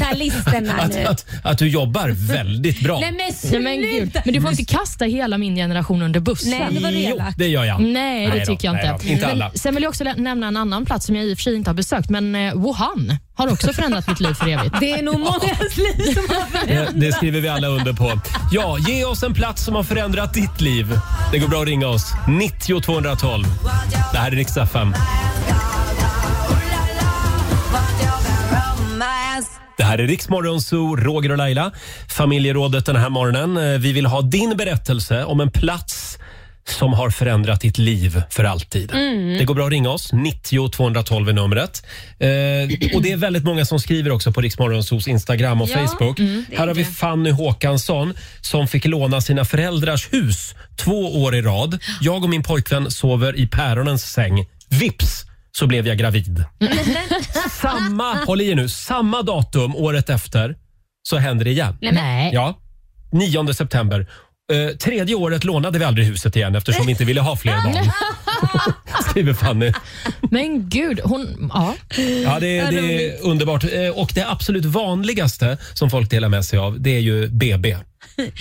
S3: 90-talisterna
S1: att,
S3: nu.
S1: att, att du jobbar väldigt bra.
S3: Nej, men
S4: Nej, men, gud.
S3: sluta.
S4: men du får inte kasta hela min generation under bussen.
S3: Nej, det var det
S1: Jo,
S3: elakt.
S1: det gör jag.
S4: Nej, det
S1: då,
S4: tycker jag
S1: nej
S4: inte.
S1: då, Inte alla.
S4: men, sen vill jag också lä- nämna en annan plats som jag i och för sig inte har besökt, men eh, Wuhan har också förändrat mitt liv för evigt.
S3: Det är nog mångas liv som har
S1: Det,
S3: förändrats.
S1: det skriver vi alla under på. Ja, ge oss en plats som har förändrat ditt liv. Det går bra att ringa oss. 90 212. Det här är riksdag 5. Det här är Riksmorgon Zoo, Roger och Laila. Familjerådet den här morgonen. Eh, Vi vill ha din berättelse om en plats som har förändrat ditt liv för alltid.
S17: Mm.
S1: Det går bra att ringa oss. 90 212 är numret. Eh, och det är väldigt många som skriver också på Riksmorgon Zoos Instagram och
S17: Ja,
S1: Facebook.
S17: mm, det är
S1: Här har vi
S17: det.
S1: Fanny Håkansson som fick låna sina föräldrars hus två år i rad. Jag och min pojkvän sover i päronens säng. Vips så blev jag gravid. Samma,
S17: Ah.
S1: håll i er nu, samma datum året efter så händer det igen.
S4: Nej.
S1: Ja, 9 september. Eh, tredje året lånade vi aldrig huset igen eftersom vi inte ville ha fler barn, skriver Fanny.
S4: Men gud, hon... Ja.
S1: Ja, det, det är underbart. Eh, Och det absolut vanligaste som folk delar med sig av, det är ju BB.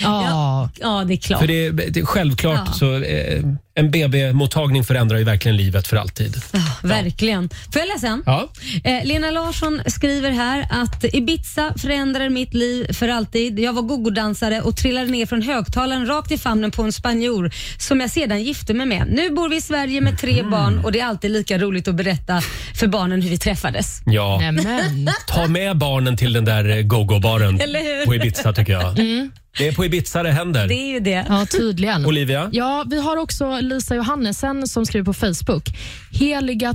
S4: Ja.
S3: ja, det är klart.
S1: För det, det, är självklart
S3: Ja.
S1: så eh, en BB-mottagning förändrar ju verkligen livet för alltid.
S3: Verkligen. Får jag läsa en?
S1: Ja.
S3: Eh, Lena Larsson skriver här att Ibiza förändrade mitt liv för alltid. Jag var gogodansare och trillade ner från högtalaren rakt i famnen på en spanjor som jag sedan gifte mig med. Nu bor vi i Sverige med tre barn och det är alltid lika roligt att berätta för barnen hur vi träffades.
S1: Ja.
S4: Nämen.
S1: Ta med barnen till den där eh, go-go-baren
S3: Eller hur?
S1: på Ibiza tycker jag.
S4: Mm.
S1: Det är på Ibiza det händer.
S3: Det är ju det.
S4: Ja, tydligen.
S1: Olivia?
S4: Ja, vi har också Lisa Johannesen som skriver på Facebook. Heliga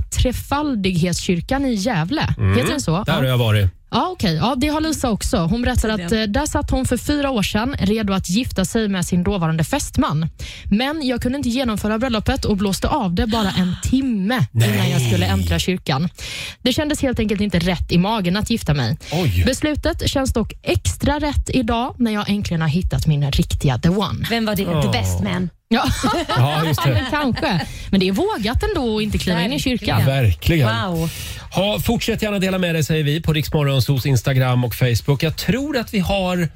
S4: Trefaldighetskyrkan i Gävle. Heter den så?
S1: Mm. Där har jag varit.
S4: Ja, okej. Ja, det har Lisa också. Hon berättar att eh, där satt hon för fyra år sedan redo att gifta sig med sin dåvarande fästman. Men jag kunde inte genomföra bröllopet och blåste av det bara en timme innan jag skulle äntra kyrkan. Det kändes helt enkelt inte rätt i magen att gifta mig.
S1: Oj.
S4: Beslutet känns dock extra rätt idag när jag äntligen har hittat min riktiga the one.
S3: Vem var det?
S1: Ja.
S3: The best man.
S4: Ja,
S1: Ja, just det.
S4: men kanske. Men det är vågat ändå att inte kliva in i kyrkan.
S1: Verkligen. Ha, fortsätt gärna dela med dig säger vi på Riksmorgonsos Instagram och Facebook. Jag tror att vi har en...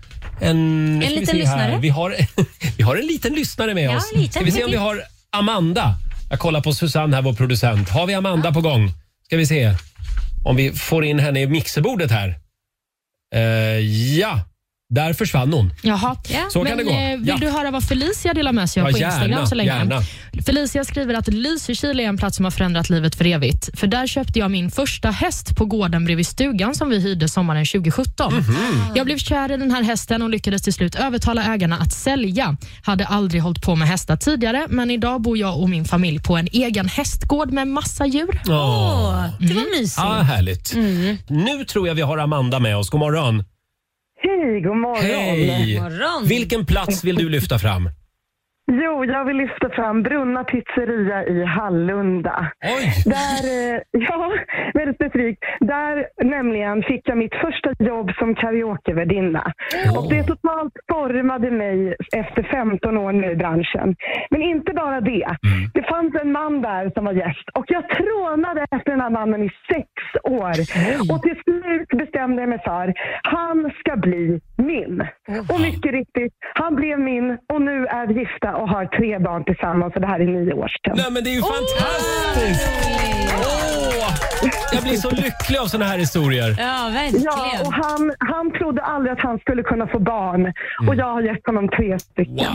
S1: En
S3: liten lyssnare.
S1: Vi har, vi har en liten lyssnare med
S3: Ja,
S1: oss.
S3: en liten.
S1: Ska vi se om vi har Amanda. Jag kollar på Susanne här, vår producent. Har vi Amanda på gång? Ska vi se om vi får in henne i mixerbordet här. Eh, ja, där försvann hon.
S4: Jaha.
S1: Så kan
S4: Men,
S1: det gå.
S4: eh, Vill
S1: Ja.
S4: du höra vad Felicia delar med sig av
S1: Ja,
S4: på
S1: gärna,
S4: Instagram så länge?
S1: gärna.
S4: Felicia skriver att Lysekil är en plats som har förändrat livet för evigt. För där köpte jag min första häst på gården bredvid stugan som vi hyrde sommaren 2017.
S1: Mhm.
S4: Jag blev kär i den här hästen och lyckades till slut övertala ägarna att sälja. Hade aldrig hållit på med hästar tidigare, men idag bor jag och min familj på en egen hästgård med massa djur.
S1: Åh,
S3: det var mysigt. Mm.
S1: Ah, härligt. Nu tror jag vi har Amanda med oss. God morgon.
S2: Hej, god morgon.
S1: Hej! Vilken plats vill du lyfta fram?
S2: Jo, jag vill lyfta fram Brunna pizzeria i Hallunda. Där, eh, ja, väldigt specifikt. Där nämligen fick jag mitt första jobb som karaokevärdinna. Och det totalt formade mig efter 15 år nu i branschen. Men inte bara det. Det fanns en man där som var gäst och jag trånade efter den här mannen i sex år. Och till slut bestämde jag mig för, han ska bli min. Och mycket riktigt, han blev min och nu är vi gifta och har tre barn tillsammans och det här är nio år sedan.
S1: Nej men det är ju fantastiskt! Åh! Jag blir så lycklig av såna här historier.
S3: Ja, verkligen.
S2: Ja, och han, han trodde aldrig att han skulle kunna få barn och jag har gett honom tre stycken.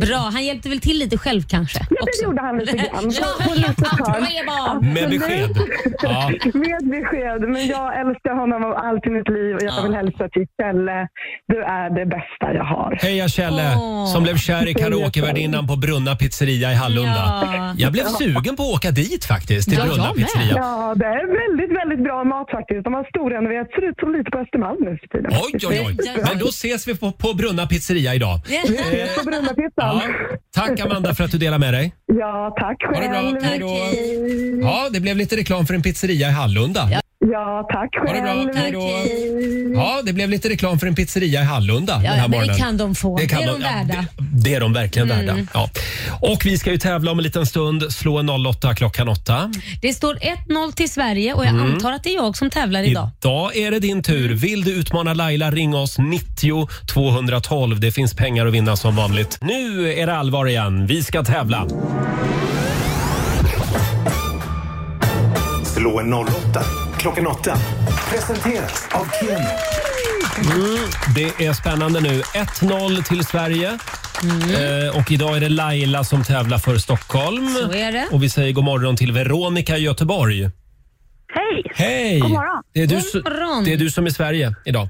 S3: Bra, han hjälpte väl till lite själv kanske?
S2: Ja, det gjorde han lite grann.
S3: Ja,
S2: På litet hörn.
S3: tre barn.
S2: Absolut.
S1: Med besked. Ja.
S2: Med besked. Men jag älskar honom av allt i mitt liv och jag
S1: Ja.
S2: vill hälsa till Kjelle. Du är det bästa jag har.
S1: Heja Kjelle
S2: Åh.
S1: som blev kär i karaokevärdinnan på Brunna pizzeria i Hallunda.
S2: Ja.
S1: Jag blev sugen på att åka dit faktiskt, till Brunna pizzeria.
S2: Ja, det är väldigt, väldigt bra mat faktiskt. De har storrenoverat. Ser ut som lite på Östermalm nu för tiden.
S1: Oj, oj, oj. Men då ses vi på, på Brunna pizzeria idag.
S2: Vi ses på Brunnapizzan.
S1: Tack Amanda för att du delar med dig.
S2: Ja, tack
S1: Ha det
S2: själv.
S1: bra. Hej då. Ja, det blev lite reklam för en pizzeria i Hallunda.
S2: Ja, tack själv.
S1: Ha det bra. Hej då. Ja, det blev lite reklam för en pizzeria i Hallunda
S3: Ja,
S1: den här
S3: men det
S1: morgonen.
S3: kan de få. Det,
S1: kan
S3: är
S1: de-
S3: de
S1: ja,
S3: värda.
S1: Det är de verkligen
S3: Mm.
S1: värda. Ja. Och vi ska ju tävla om en liten stund. Slå en 08 klockan 8.
S3: Det står 1-0 till Sverige och jag
S1: Mm.
S3: antar att det är jag som tävlar idag.
S1: Idag är det din tur.
S3: Mm.
S1: Vill du utmana Laila, ring oss 90 212. Det finns pengar att vinna som vanligt. Nu är det allvar igen. Vi ska tävla.
S15: Slå en 08 klockan 8. Presenteras av Keno.
S1: Mm, det är spännande nu. 1-0 till Sverige. Eh, och idag är det Laila som tävlar för Stockholm.
S3: Mm. Så är det.
S1: Och vi säger god morgon till Veronica i Göteborg.
S17: Hej!
S1: Hej!
S17: God morgon.
S1: Det är du,
S17: God
S1: su-
S17: morgon.
S1: Det är du som är Sverige idag.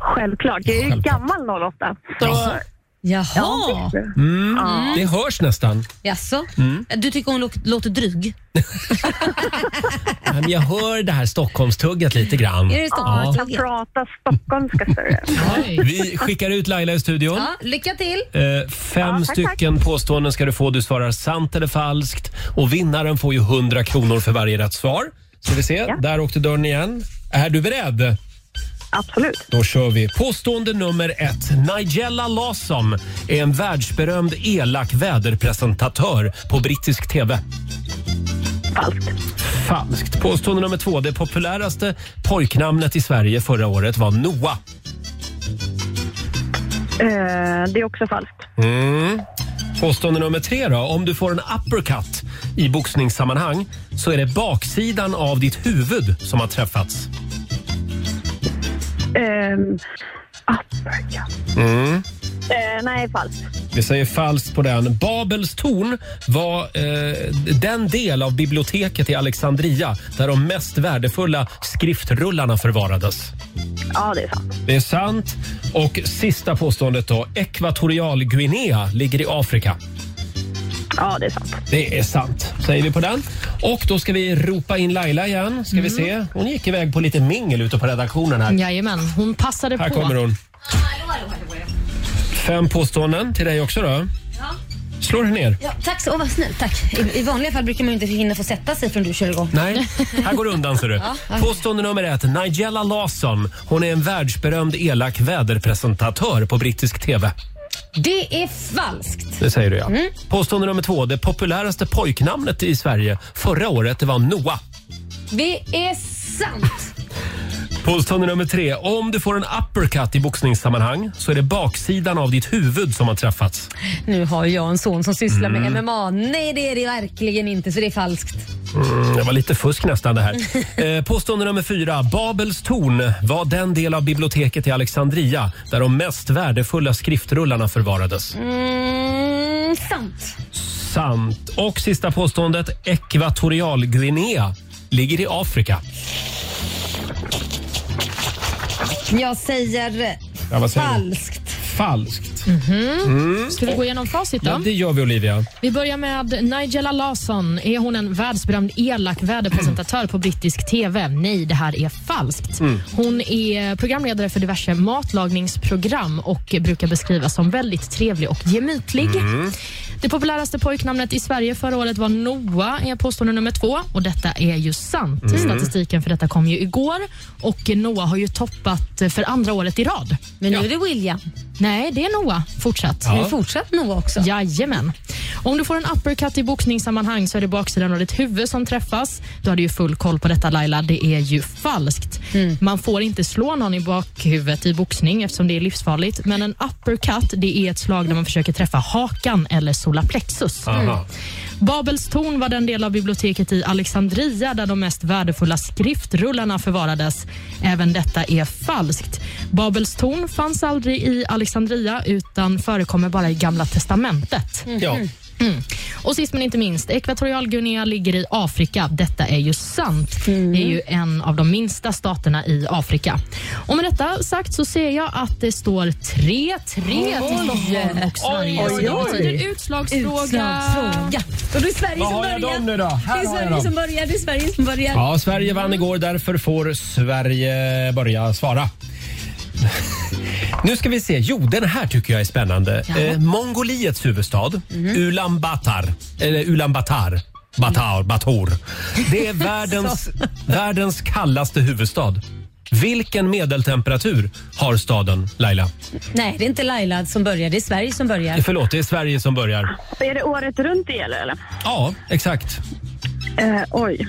S17: Självklart. Jag är ju gammal 08. Så...
S1: Jaha.
S3: Jaha.
S17: Ja, visst.
S1: Mm,
S17: Ja.
S1: Det hörs nästan.
S3: Jaså?
S1: Mm.
S3: Du tycker hon lå- låter dryg?
S1: Nej, men jag hör det här Stockholmstugget lite grann.
S3: Är det Stockholmstugget?
S17: jag pratar stockholmska.
S1: Ja. Vi skickar ut Laila i studion.
S3: Ja, lycka till!
S1: Eh, fem
S3: Ja, tack,
S1: stycken påståenden ska du få. Du svarar sant eller falskt. Och vinnaren får ju 100 kronor för varje rätt svar. Ska vi se, där åkte dörren igen. Är du beredd?
S17: Absolut.
S1: Då kör vi. Påstående nummer ett. Nigella Lawson är en världsberömd elak väderpresentatör på brittisk TV. Falskt. Falskt. Påstående nummer två. Det populäraste pojknamnet i Sverige förra året var Noah.
S17: Eh, det är också falskt.
S1: Mm. Påstående nummer tre då. Om du får en uppercut i boxningssammanhang så är det baksidan av ditt huvud som har träffats.
S17: Ehm, uppercut.
S1: Mm.
S17: Eh, nej, falskt.
S1: Vi säger falskt på den. Babels torn var eh, den del av biblioteket i Alexandria där de mest värdefulla skriftrullarna förvarades.
S17: Ja, det är sant.
S1: Det är sant. Och sista påståendet då. Ekvatorialguinea ligger i Afrika.
S17: Ja, det är sant.
S1: Det är sant, säger vi på den. Och då ska vi ropa in Laila igen. Ska vi se.
S17: Mm.
S1: Hon gick iväg på lite mingel ute på redaktionen här.
S4: Jajamän, hon passade
S1: Här
S4: på.
S1: kommer hon. Fem påståenden till dig också då.
S3: Ja.
S1: Slår dig ner.
S3: Ja, tack så oh, vad snällt. Tack. I, I vanliga fall brukar man ju inte hinna få sätta sig förrän du kör igång.
S1: Nej, här går det undan ser du.
S3: Ja, okej.
S1: Påstående nummer ett. Nigella Lawson. Hon är en världsberömd elak väderpresentatör på brittisk TV.
S3: Det är falskt.
S1: Det säger du ja.
S3: Mm.
S1: Påstående nummer två. Det populäraste pojknamnet i Sverige förra året det var Noah.
S3: Det är sant.
S1: Påstående nummer tre. Om du får en uppercut i boxningssammanhang så är det baksidan av ditt huvud som har träffats.
S3: Nu har jag en son som sysslar
S1: Mm.
S3: med MMA. Nej, det är det verkligen inte, så det är falskt.
S1: Mm, det var lite fusk nästan det här. Eh, påstående nummer fyra. Babels torn var den del av biblioteket i Alexandria där de mest värdefulla skriftrullarna förvarades.
S3: Mm, sant.
S1: Sant. Och sista påståendet. Ekvatorialguinea ligger i Afrika.
S3: Jag säger
S1: Ja, vad säger du?
S3: falskt.
S1: Falskt. Mm.
S4: Mhm. Ska vi gå igenom facit då?
S1: Ja, det gör vi Olivia.
S4: Vi börjar med Nigella Larsson. Är hon en världsberömd elak väderpresentatör på brittisk TV? Nej, det här är falskt.
S9: Mm.
S4: Hon är programledare för diverse matlagningsprogram och brukar beskrivas som väldigt trevlig och gemytlig.
S9: Mm.
S4: Det populäraste pojknamnet i Sverige förra året var Noah, är påstående nummer två. Och Detta är ju sant.
S9: Mm.
S4: Statistiken för detta kom ju igår. Och Noah har ju toppat för andra året i rad.
S3: Men nu är det William.
S4: Nej, det är Noah fortsatt.
S3: Ja. Det är fortsatt Noah också.
S4: Jajamän. Om du får en uppercut i boxningssammanhang så är det baksidan av ditt huvud som träffas. Du hade ju full koll på detta Laila, det är ju falskt. Man får inte slå någon i bakhuvudet i boxning eftersom det är livsfarligt. Men en uppercut det är ett slag där man försöker träffa hakan eller solaplexus.
S9: Aha.
S4: Mm. Babels torn var den del av biblioteket i Alexandria där de mest värdefulla skriftrullarna förvarades. Även detta är falskt. Babels torn fanns aldrig i Alexandria utan förekommer bara i Gamla testamentet.
S1: Ja.
S4: Mm. Och sist men inte minst, Ekvatorialguinea ligger i Afrika. Detta är ju sant.
S9: Mm.
S4: Det är ju en av de minsta staterna i Afrika. Och med detta sagt så ser jag att det står 3-3 till Stockholm och Sverige.
S9: Oj,
S4: Så
S9: oj,
S4: det
S9: oj.
S4: betyder utslagsfråga.
S3: Utslagsfråga. Och då är Sverige
S1: Vad
S3: som
S1: har
S3: börjar.
S1: jag dem nu då? Här
S3: det är
S1: har jag
S3: Sverige
S1: dem.
S3: som börjar. Det är Sverige som börjar.
S1: Ja, Sverige vann igår, därför får Sverige börja svara. Nu ska vi se. Jo, den här tycker jag är spännande.
S9: Ja.
S1: Eh, Mongoliets huvudstad, Ulan Batar. Eller Ulan Batar. Batar, Bator. Det är världens, världens kallaste huvudstad. Vilken medeltemperatur har staden, Laila?
S3: Nej, det är inte Laila som börjar. Det är Sverige som börjar.
S1: Eh, Förlåt, det är Sverige som börjar.
S17: Är det året runt det gäller eller?
S1: Ja, exakt.
S17: Eh, oj.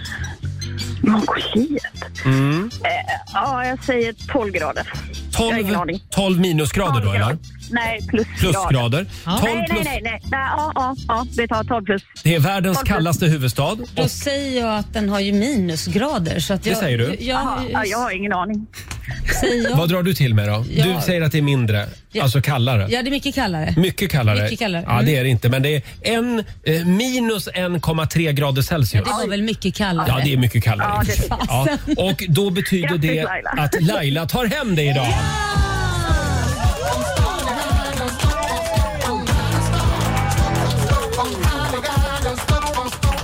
S17: Mongoliet.
S1: Mm.
S17: Eh, ja, jag säger 12 grader.
S1: 12, 12 minusgrader då, eller?
S17: Nej, plus
S1: Plusgrader.
S17: Ja.
S1: 12
S17: Nej, nej,
S1: plus-
S17: nej. nej. nej ja, ja, ja, vi tar 12 plus.
S1: Det är världens
S17: 12 plus.
S1: kallaste huvudstad.
S3: Då säger jag att den har ju minusgrader. Så att
S1: Det
S3: jag,
S1: säger du?
S3: Jag,
S17: Jaha, ja, jag har ingen aning.
S3: Säger jag.
S1: Vad drar du till med då?
S3: Ja.
S1: Du säger att det är mindre,
S3: Ja.
S1: alltså kallare.
S3: Ja, det är mycket kallare.
S1: Mycket kallare.
S3: Mycket kallare.
S1: Ja,
S3: Mm.
S1: det är det inte. Men det är en, eh, minus 1,3 grader
S3: Ja,
S1: Celsius.
S3: det var väl mycket kallare?
S1: Ja, det är mycket kallare.
S3: Ja, det är det.
S1: Ja, och då betyder
S3: Grattis,
S1: det
S3: Laila.
S1: att Laila tar hem det idag.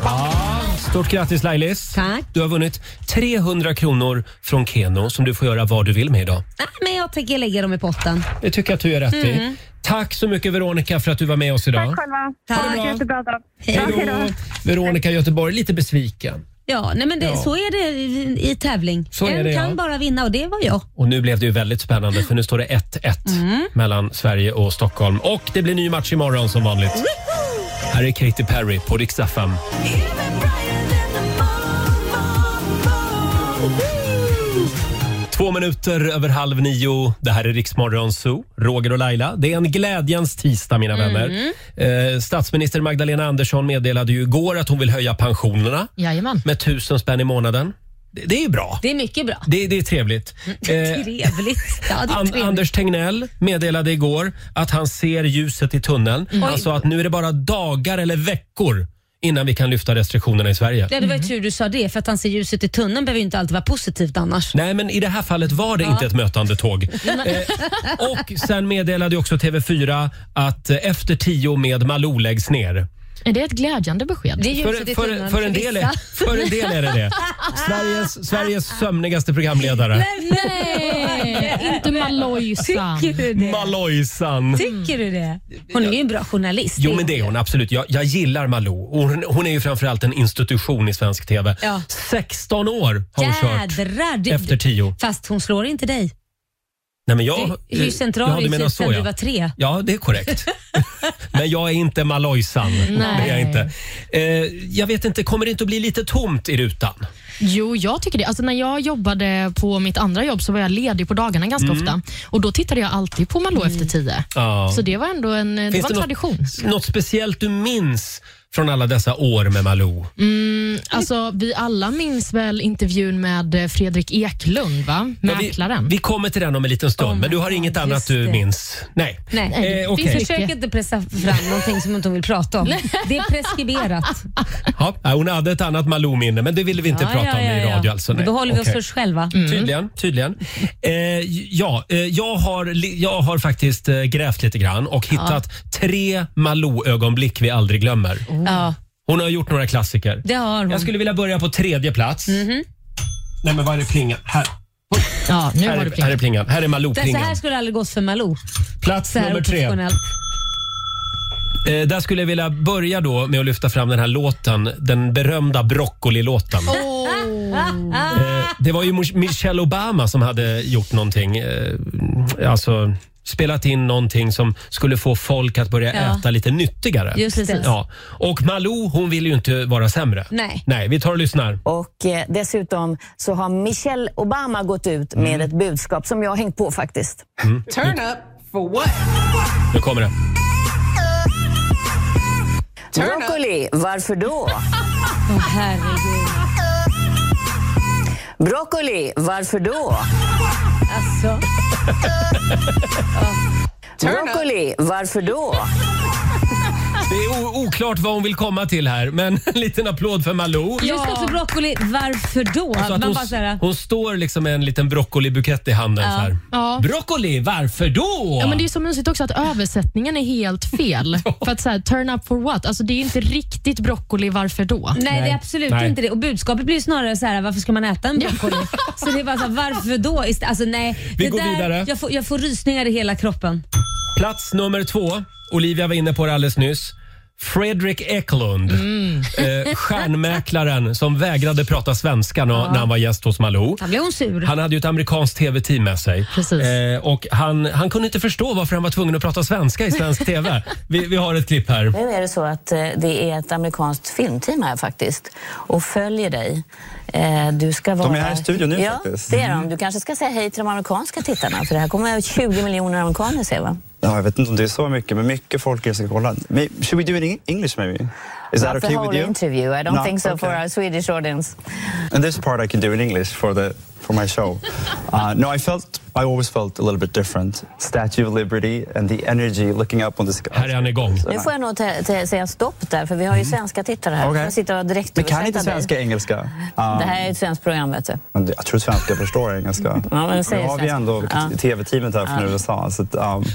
S1: Ja, Stort grattis Lailis!
S3: Tack.
S1: Du har vunnit 300 kronor från Keno som du får göra vad du vill med idag.
S3: Nej, men jag tänker lägga dem i potten.
S1: Det tycker jag att du gör rätt i.
S3: Mm.
S1: Tack så mycket Veronica för att du var med oss idag.
S17: själva.
S3: Tack.
S17: Ha det jättebra dag.
S1: Hej då! Veronica i Göteborg, lite besviken.
S3: Ja, nej men det,
S1: Ja.
S3: så är det i, i tävling.
S1: Så är
S3: en
S1: det, ja.
S3: kan bara vinna och det var jag.
S1: Och nu blev det ju väldigt spännande för nu står det 1-1
S3: Mm.
S1: mellan Sverige och Stockholm. Och det blir ny match imorgon som vanligt. Här är Katy Perry på Rix FM. Två minuter över halv nio. Det här är Riksmorgon Zoo, Roger och Laila. Det är en glädjens tisdag, mina vänner. Eh, statsminister Magdalena Andersson meddelade ju igår att hon vill höja pensionerna
S4: Jajamän.
S1: med tusen spänn i månaden. Det, det är ju bra.
S3: Det är mycket bra. Mm,
S1: Det, det är trevligt. Eh,
S3: Trevligt. Ja, det är
S1: An-
S3: trevligt.
S1: Anders Tegnell meddelade igår att han ser ljuset i tunneln.
S3: Mm.
S1: Han sa att nu är det bara dagar eller veckor innan vi kan lyfta restriktionerna i Sverige.
S3: Ja, det var ju tur du sa det, för att han ser ljuset i tunneln behöver ju inte alltid vara positivt annars.
S1: Nej, men i det här fallet var det
S3: Ja.
S1: inte ett mötande tåg. Eh, och sen meddelade ju också TV4 att eh, Efter tio med Malou läggs ner.
S4: Är det ett glädjande besked?
S3: Det är ljuset
S1: För,
S3: i
S1: för,
S3: tunneln
S1: för, en del är,
S3: vissa.
S1: för en del är det det. Sveriges, Sveriges sömnigaste programledare.
S4: Nej, inte Malojsan.
S3: Tycker du det?
S1: Malojsan.
S3: Tycker du det? Hon är ju en bra journalist.
S1: Mm. Jo, men det är hon absolut. Jag, jag gillar Malou. Och Hon, hon är ju framförallt en institution i svensk TV.
S3: Ja.
S1: 16 år har hon kört
S3: Jädrar! Du,
S1: efter 10.
S3: Fast hon slår inte dig.
S1: Nej, men jag,
S3: Det är ju
S1: Ja, du
S3: central i
S1: menar
S3: tid
S1: så,
S3: sen
S1: ja.
S3: du var tre.
S1: Ja, det är korrekt. Men jag är inte Malojsan. Det är jag
S4: Nej.
S1: inte. Eh, jag vet inte, kommer det inte att bli lite tomt i rutan?
S4: Jo, jag tycker det. Alltså, när jag jobbade på mitt andra jobb så var jag ledig på dagarna ganska
S1: Mm.
S4: ofta. Och Då tittade jag alltid
S3: Mm.
S4: på Malou efter tio.
S1: Ja.
S4: Så det var ändå en, det
S1: Finns
S4: var en
S1: det något-
S4: tradition.
S1: Något speciellt du minns från alla dessa år med Malou?
S4: Mm, alltså, vi alla minns väl intervjun med eh, Fredrik Eklund, va?
S1: Ja, vi,
S4: mäklaren.
S1: vi kommer till den om en liten stund, men du har inget annat du
S3: det.
S1: minns? Nej.
S3: Nej,
S1: Eh, okej.
S3: vi försöker inte pressa fram någonting som inte hon vill prata om. Det är preskriberat.
S1: Ja, äh, hon hade ett annat Malou-minne, men det ville vi inte
S3: Ja,
S1: prata
S3: ja,
S1: om i
S3: ja, ja.
S1: radio. Alltså,
S3: Då
S1: nej.
S3: behåller vi oss
S1: Okej. Mm.
S3: för oss själva.
S1: Tydligen. tydligen. Eh, ja, eh, jag, har, li- jag har faktiskt eh, grävt lite grann och hittat tre Malou-ögonblick vi aldrig glömmer.
S3: Ja,
S1: Hon har gjort några klassiker.
S3: det har hon. Mhm.
S1: Jag skulle vilja börja på tredje plats. Nej, men vad är det plingan? Här.
S4: Ja, nu
S1: här,
S4: har
S1: är,
S4: du
S1: här är plingan. Här är
S3: Det, så
S1: Malou-plingan.
S3: här skulle det aldrig gått för Malou.
S1: Plats
S3: Så här
S1: nummer tre.
S3: oprofessionellt.
S1: Eh, där skulle jag vilja börja då med att lyfta fram den här låten, den berömda Broccoli-låten. Eh, det var ju Mich- Michelle Obama som hade gjort någonting, eh, alltså spelat in någonting som skulle få folk att börja
S3: Ja.
S1: äta lite nyttigare.
S3: Just det.
S1: Ja. Och Malou, hon vill ju inte vara sämre.
S3: Nej.
S1: Nej, vi tar och lyssnar.
S10: Och eh, dessutom så har Michelle Obama gått ut med ett budskap som jag har hängt på faktiskt.
S1: Mm.
S10: Turn up for what?
S1: Nu kommer det.
S10: Broccoli, varför då?
S3: Åh, herregud.
S10: Broccoli, varför då?
S3: Alltså.
S10: Broccoli, varför då?
S1: Det är o- oklart vad hon vill komma till här, men en liten applåd för Malou.
S3: Just också broccoli, varför då?
S1: Alltså att
S3: Man
S1: hon,
S3: bara så här,
S1: hon står liksom med en liten broccolibukett i handen.
S4: Ja.
S1: Så här.
S4: Ja.
S1: Broccoli, varför då?
S4: Ja, men det är så mysigt också att översättningen är helt fel. För att så här, turn up for what? Alltså, det är ju inte riktigt broccoli, varför då?
S3: Nej, det är absolut
S4: Nej.
S3: inte det. Och budskapet blir ju snarare så här, varför ska man äta en broccoli? så det är bara så här, varför då? Ist- Alltså nej.
S1: Vi
S3: det
S1: går vidare.
S3: Jag får, jag får rysningar i hela kroppen.
S1: Plats nummer två. Olivia var inne på det alldeles nyss. Fredrik Eklund,
S3: Mm.
S1: eh, stjärnmäklaren som vägrade prata svenska nå-
S3: Ja.
S1: när han var gäst hos Malou.
S3: Då blir hon sur.
S1: Han hade ju ett amerikanskt tv-team med sig. Eh, och han, han kunde inte förstå varför han var tvungen att prata svenska i svensk tv. Vi, vi har ett klipp här.
S10: Nu är det så att eh, det är ett amerikanskt filmteam här faktiskt och följer dig. Eh, Du ska vara...
S18: De är här i studion nu
S10: ja,
S18: faktiskt. Mm.
S10: det är de. Du kanske ska säga hej till de amerikanska tittarna för det här kommer 20 miljoner amerikaner se va?
S18: Ja, jag vet inte om det är så mycket, men mycket folk är ska kolla. May- Should we do it in English maybe? Is that
S10: Not
S18: okay
S10: the
S18: with
S10: whole
S18: you?
S10: interview. I don't
S18: No,
S10: think so for
S18: okay.
S10: our Swedish audience.
S18: And this part I can do in English for the for my show. Uh, no, I felt I always felt a little bit different. Statue of Liberty and the energy looking up on the sky.
S1: Här är han igång.
S10: Nu får jag nog te- te- säga stopp där för vi har ju svenska tittare här.
S18: Mm. Okej.
S10: Jag sitter och direkt
S18: Men kan inte svenska engelska? Um,
S10: Det här är ett svenskt program vet du.
S18: men Jag tror svenska förstår engelska.
S10: Ja, men
S18: nu
S10: säg
S18: har vi
S10: svenska.
S18: ändå
S10: Ja.
S18: tv-teamet här från
S10: Ja.
S18: USA. Så att, um,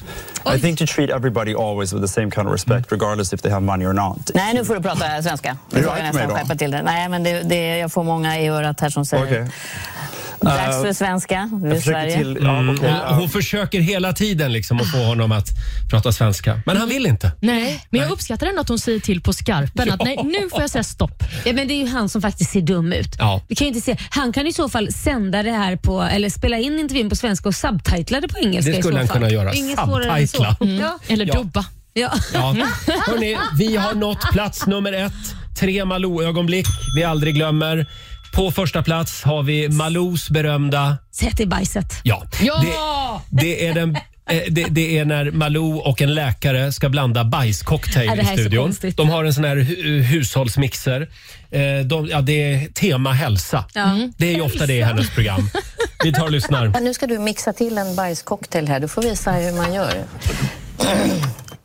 S18: I think to treat everybody always with the same kind of respect
S10: Mm.
S18: regardless if they have money or not.
S10: Nej, nu får du prata svenska. Nu
S18: Är
S10: får
S18: det
S10: jag
S18: allt med
S10: nästan
S18: idag?
S10: skärpa till det. Nej, men det, det, jag får många i örat här som säger
S18: Okej.
S10: dags
S1: Eh,
S10: för svenska. Du
S1: jag
S10: är
S1: försöker
S10: Sverige.
S1: till- ja, Mm. okej. Hon- Hon försöker hela tiden liksom att få honom att prata svenska, men han vill inte.
S4: Nej, men jag uppskattar ändå att hon säger till på skarpen att nej, nu får jag säga stopp.
S3: Ja, men det är ju han som faktiskt ser dum ut.
S1: Ja.
S3: Vi kan ju inte se. Han kan i så fall sända det här på, eller spela in intervjun på svenska och subtitla det på engelska.
S1: Det skulle
S3: i så
S1: han
S3: fall.
S1: kunna göra.
S3: Inget svårare än så.
S1: Subtitla. Mm.
S3: Ja.
S4: Eller
S1: Ja.
S4: dubba.
S3: Ja.
S1: Ja. Hörrni, vi har nått plats nummer ett. Tre Malou-ögonblick vi aldrig glömmer. På första plats har vi Malous berömda...
S3: Sätt i bajset.
S1: Ja!
S3: Ja!
S1: Det, det, är den, eh, det, det är när Malou och en läkare ska blanda
S3: Ja,
S1: bajscocktail
S3: det
S1: i
S3: här är så
S1: studion.
S3: konstigt.
S1: De har en sån här hu- hushållsmixer. Eh, De, ja, det är tema hälsa.
S10: Ja.
S1: Det är ju ofta det i hennes program. Vi tar och lyssnar.
S10: Men nu ska du mixa till en bajscocktail här. Du får visa hur man gör.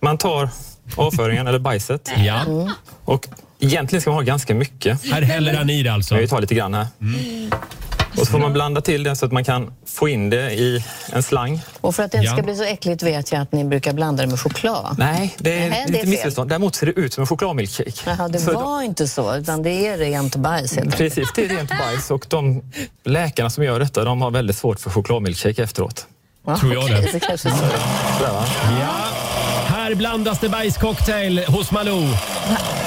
S6: Man tar avföringen, eller bajset.
S1: Ja.
S6: Och egentligen ska man ha ganska mycket.
S1: Här häller han i det alltså? Mm.
S6: Jag tar lite grann här. Och så får man blanda till det så att man kan få in det i en slang.
S10: Och för att det inte
S6: Ja.
S10: ska bli så äckligt vet jag att ni brukar blanda det med choklad.
S6: Nej, det
S10: Nähä,
S6: är
S10: det är
S6: lite
S10: fel.
S6: missförstånd. Däremot ser det ut som en chokladmilkshake.
S10: Jaha, det
S6: Så de-
S10: var inte så, utan det är rent bajs helt enkelt.
S6: Precis, det är rent bajs och de läkarna som gör detta de har väldigt svårt för chokladmilkshake efteråt.
S10: Ja,
S1: Tror jag
S10: okej,
S1: det.
S10: så kanske så.
S6: Sådär, va?
S1: Ja. Här blandas det bajscocktail hos Malou.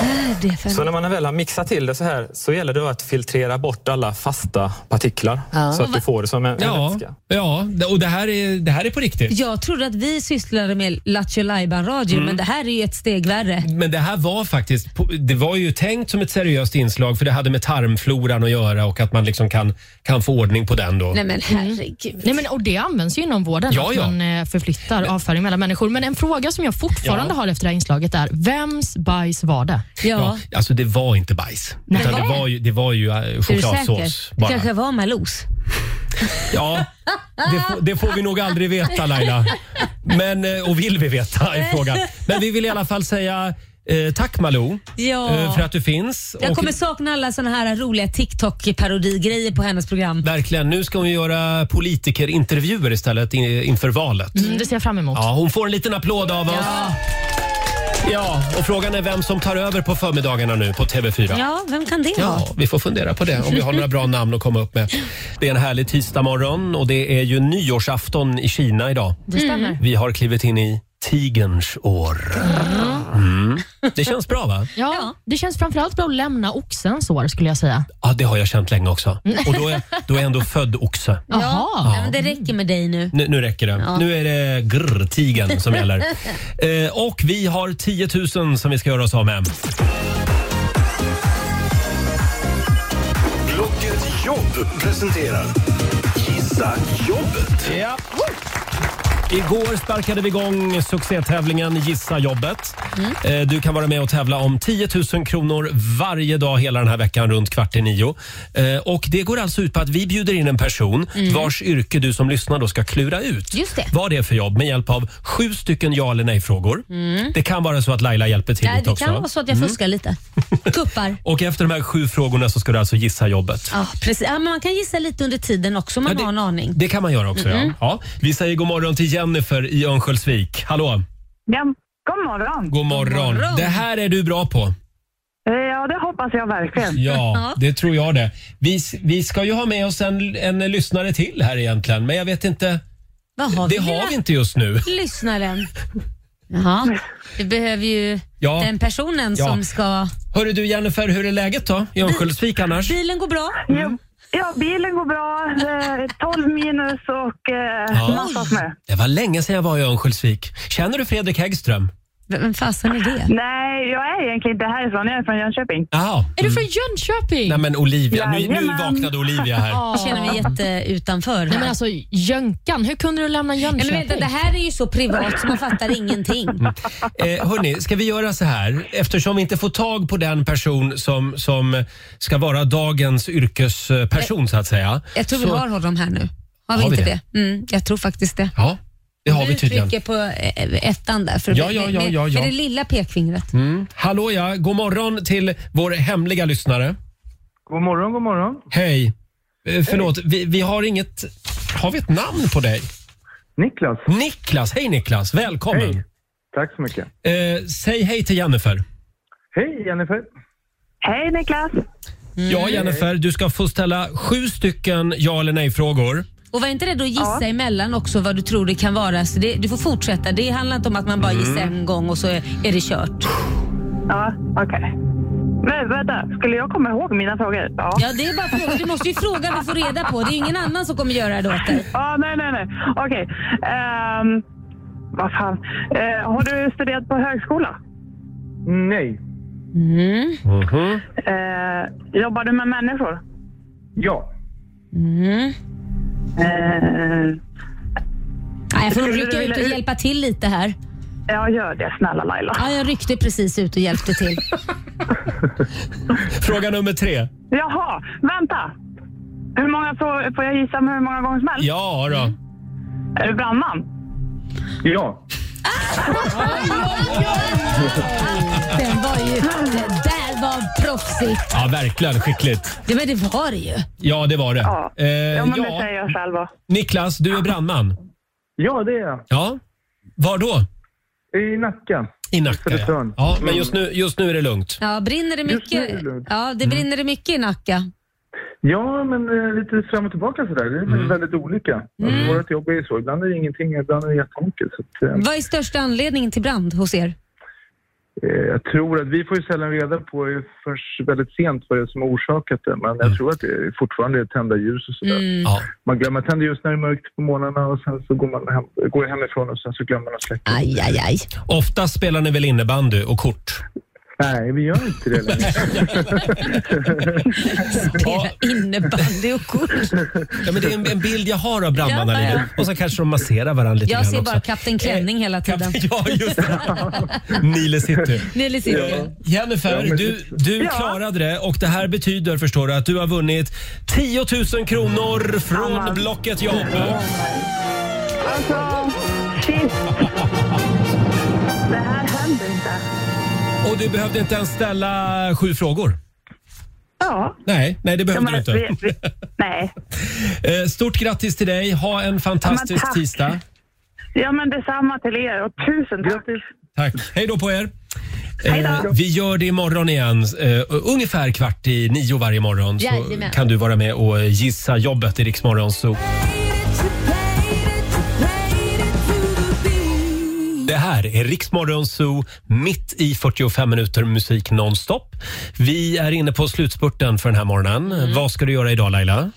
S3: Är det för
S6: Så när man väl har mixat till det så här så gäller det att filtrera bort alla fasta partiklar
S3: Ja.
S6: så att du får det som en, en
S1: Ja,
S6: vätska.
S1: ja och det här, är, det här är på riktigt.
S3: Jag trodde att vi sysslade med Lattjo Lajban-radio,
S1: Mm.
S3: men det här är ju ett steg värre.
S1: Men det här var faktiskt, det var ju tänkt som ett seriöst inslag för det hade med tarmfloran att göra och att man liksom kan, kan få ordning på den då.
S4: Nej, men
S3: herregud.
S4: Nej, men, och det används ju inom vården,
S1: Ja,
S4: att
S1: ja.
S4: man eh, förflyttar avföring mellan människor. Men en fråga som jag fortfarande har efter det här inslaget är, vems bajs var det?
S3: Ja.
S1: Alltså det var inte bajs.
S4: Nej.
S1: Utan det, var ju, det var ju eh,
S3: Är du säker?
S1: chokladsås
S3: Det
S1: bara.
S3: kanske var Malous.
S1: Ja, det, får- det får vi nog aldrig veta Laila. Men, eh, och vill vi veta är frågan. Men vi vill i alla fall säga eh, tack Malou
S3: Ja.
S1: eh, för att du finns.
S3: Jag
S1: Och
S3: kommer sakna alla såna här roliga TikTok-parodigrejer på hennes program.
S1: Verkligen, nu ska hon göra politikerintervjuer istället in, inför valet.
S4: Mm, det ser jag fram emot.
S1: Ja, hon får en liten applåd av oss.
S4: Ja.
S1: Ja, och frågan är vem som tar över på förmiddagarna nu på TV4.
S3: Ja, vem kan det vara?
S1: Ja, vi får fundera på det om vi har några bra namn att komma upp med. Det är en härlig tisdagmorgon och det är ju nyårsafton i Kina idag.
S3: Mm.
S4: Det stämmer.
S1: Vi har klivit in i tigerns år. Mm. Det känns bra va?
S4: Ja, Det känns framförallt bra att lämna oxens år skulle jag säga.
S1: Ja, det har jag känt länge också. Och då är, då är jag ändå född oxe.
S3: Ja, nej, men det räcker med dig nu.
S1: Nu, nu räcker det.
S3: Ja.
S1: Nu är det grr, tigen som gäller. Eh, och vi har 10 000 som vi ska göra oss av med.
S8: Blocket Jobb presenterar Gissa Jobbet.
S1: Ja. Igår sparkade vi igång succétävlingen Gissa jobbet.
S3: Mm.
S1: Eh, Du kan vara med och tävla om 10 000 kronor varje dag hela den här veckan runt kvart i nio. Eh, Och det går alltså ut på att vi bjuder in en person
S3: Mm.
S1: vars yrke du som lyssnar då ska klura ut.
S3: Just det.
S1: Vad det är för jobb med hjälp av sju stycken ja eller nej-frågor.
S3: Mm.
S1: Det kan vara så att Laila hjälper till
S3: Nej,
S1: lite
S3: det
S1: också.
S3: kan vara så att jag
S1: Mm.
S3: fuskar lite. Kuppar.
S1: Och efter de här sju frågorna så ska du alltså gissa jobbet.
S3: Ja, precis. Ja, men man kan gissa lite under tiden också om man har en aning.
S1: Det kan man göra också.
S3: Mm.
S1: Ja. Ja. Vi säger god morgon till Jennifer i Örnsköldsvik. Hallå!
S17: Ja, god morgon.
S1: God morgon. Det här är du bra på.
S17: Eh, Ja, det hoppas jag verkligen.
S1: Ja, det tror jag det. Vi, vi ska ju ha med oss en, en lyssnare till här egentligen, men jag vet inte.
S3: Vad har
S1: det
S3: vi
S1: har
S3: där?
S1: vi inte just nu.
S3: Lyssnaren. Jaha. Vi behöver ju
S1: Ja.
S3: den personen
S1: Ja.
S3: som ska...
S1: Hörru du Jennifer, hur är läget då i Örnsköldsvik annars?
S3: Bilen går bra.
S1: Mm.
S17: Ja, bilen går bra. Eh, 12 minus och eh,
S1: Ja.
S17: massa snö.
S1: Det var länge sedan jag var i Örnsköldsvik. Känner du Fredrik Häggström?
S3: Vem fasen är det?
S17: Nej, jag är egentligen inte härifrån. Jag är från Jönköping.
S1: Jaha.
S4: Är du från Jönköping?
S1: Nej men Olivia, nu, nu
S17: Jajamän.
S1: vaknade Olivia här.
S3: Jag känner mig jätteutanför.
S4: Nej, men alltså Jönkan, hur kunde du lämna
S3: Nej,
S4: Jönköping?
S3: men vänta, det här är ju så privat så man fattar ingenting.
S1: Eh, hörni, ska vi göra så här? Eftersom vi inte får tag på den person som, som ska vara dagens yrkesperson så att säga.
S3: Jag tror vi
S1: så-
S3: har honom här nu. Har vi
S1: Har vi
S3: inte
S1: det?
S3: det? Mm, jag tror faktiskt det.
S1: Ja, det har vi tydligen.
S3: Du trycker på eh, ettan där för
S1: Ja, ja, ja,
S3: med,
S1: ja, ja.
S3: med det lilla pekfingret.
S1: Mm. Hallå ja, god morgon till vår hemliga lyssnare.
S19: God morgon, god morgon.
S1: Hej. Eh, Förlåt, vi, vi har inget... Har vi ett namn på dig?
S19: Niklas.
S1: Niklas, hej Niklas. Välkommen.
S19: Tack så mycket.
S1: Eh, säg hej till Jennifer.
S19: Hej Jennifer. Mm.
S17: Hej Niklas!
S1: Ja, Jennifer, du ska få ställa sju stycken ja eller nej-frågor.
S3: Och var inte rädd att gissa emellan också vad du tror det kan vara. Så det, du får fortsätta. Det handlar inte om att man bara gissar en gång och så är, är det kört.
S17: Ja, okej. Men vänta, skulle jag komma ihåg mina frågor? Ja.
S3: Ja, det är bara frågor. Du måste ju fråga för att få reda på. Det är ingen annan som kommer göra det åt dig.
S17: Ja, nej, nej, nej. Okej. Ehm, vad fan. Eh, har du studerat på högskola?
S19: Nej.
S3: Mm.
S19: Mhm.
S17: Eh, jobbar du med människor?
S19: Ja.
S3: Mm.
S17: Eh,
S3: Nej, jag får nog
S17: Skulle
S3: rycka
S17: du
S3: ut
S17: vilja
S3: och
S17: ut-
S3: hjälpa till lite här.
S17: ja, gör det. Snälla Laila.
S3: Ja, jag ryckte precis ut och hjälpte till.
S1: Fråga nummer tre.
S17: Jaha, vänta. Hur många frågor, får jag gissa hur många gånger som helst? Mm.
S1: Ja då.
S17: Är du brandman?
S19: Ja.
S3: Den var ju... Det där var proffsigt.
S1: Ja, verkligen skickligt.
S3: Det, men det var det ju.
S1: Ja, det var det. Ja, eh,
S17: ja, men det
S1: ja.
S17: säger jag själv. va?
S1: Niklas, du är brandman.
S19: Ja, det är jag.
S1: Ja. Var då?
S19: I Nacka.
S1: I Nacka, ja. ja men just nu, just nu är det lugnt.
S3: Ja, brinner det mycket? Ja, det brinner det mycket i Nacka.
S19: Ja, men eh, lite fram och tillbaka sådär. Det är
S1: Mm.
S19: väldigt olika. Alltså, Vårt jobb är ju så. Ibland är det ingenting, ibland är det jättemycket. Så att, eh,
S3: Vad är största anledningen till brand hos er?
S19: eh, jag tror att vi får ju sällan reda på eh, först väldigt sent vad det är som har orsakat det. Men
S1: Mm.
S19: jag tror att det är fortfarande är tända ljus och sådär.
S3: Mm.
S19: Man glömmer att tända ljus när det är mörkt på morgnarna och sen så går man hem, går hemifrån och sen så glömmer man att släcka.
S3: Aj, aj, aj.
S1: Ofta spelar ni väl innebandy och kort?
S19: Nej, vi gör inte det längre.
S3: Spela innebandy och kort.
S1: Ja, men det är en, en bild jag har av brandmannarna.
S3: Ja, ja.
S1: Lina. Och så kanske de masserar varandra lite
S3: Jag
S1: grann
S3: ser
S1: också. Eh,
S3: bara Kapten Klänning hela tiden.
S1: Ja, just Nile City.
S3: Nile City. Ja.
S1: Jennifer,
S3: Ja, men-
S1: du, du
S3: Ja.
S1: klarade det och det här betyder förstår du att du har vunnit 10 000 kronor från Blocket Jag hoppar.
S2: Alltså, shit. Det här händer inte.
S1: Och du behövde inte ens ställa sju frågor.
S2: Ja.
S1: Nej, nej det behövde
S2: Ja, men
S1: du inte.
S2: vi- vi- Nej.
S1: Eh, Stort grattis till dig. Ha en fantastisk
S2: Ja, men tack.
S1: tisdag.
S2: Ja, men detsamma till er och tusen tack.
S1: Tack. Hej då på er.
S2: Hej då.
S1: Eh, Vi gör det imorgon igen. Eh, ungefär kvart i nio varje morgon så
S3: Jajamän.
S1: kan du vara med och gissa jobbet i Rix Morgon Zoo. Det här är Rix Morgon Zoo, mitt i 45 minuter musik nonstop. Vi är inne på slutspurten för den här morgonen.
S2: Mm.
S1: Vad ska du göra idag Laila?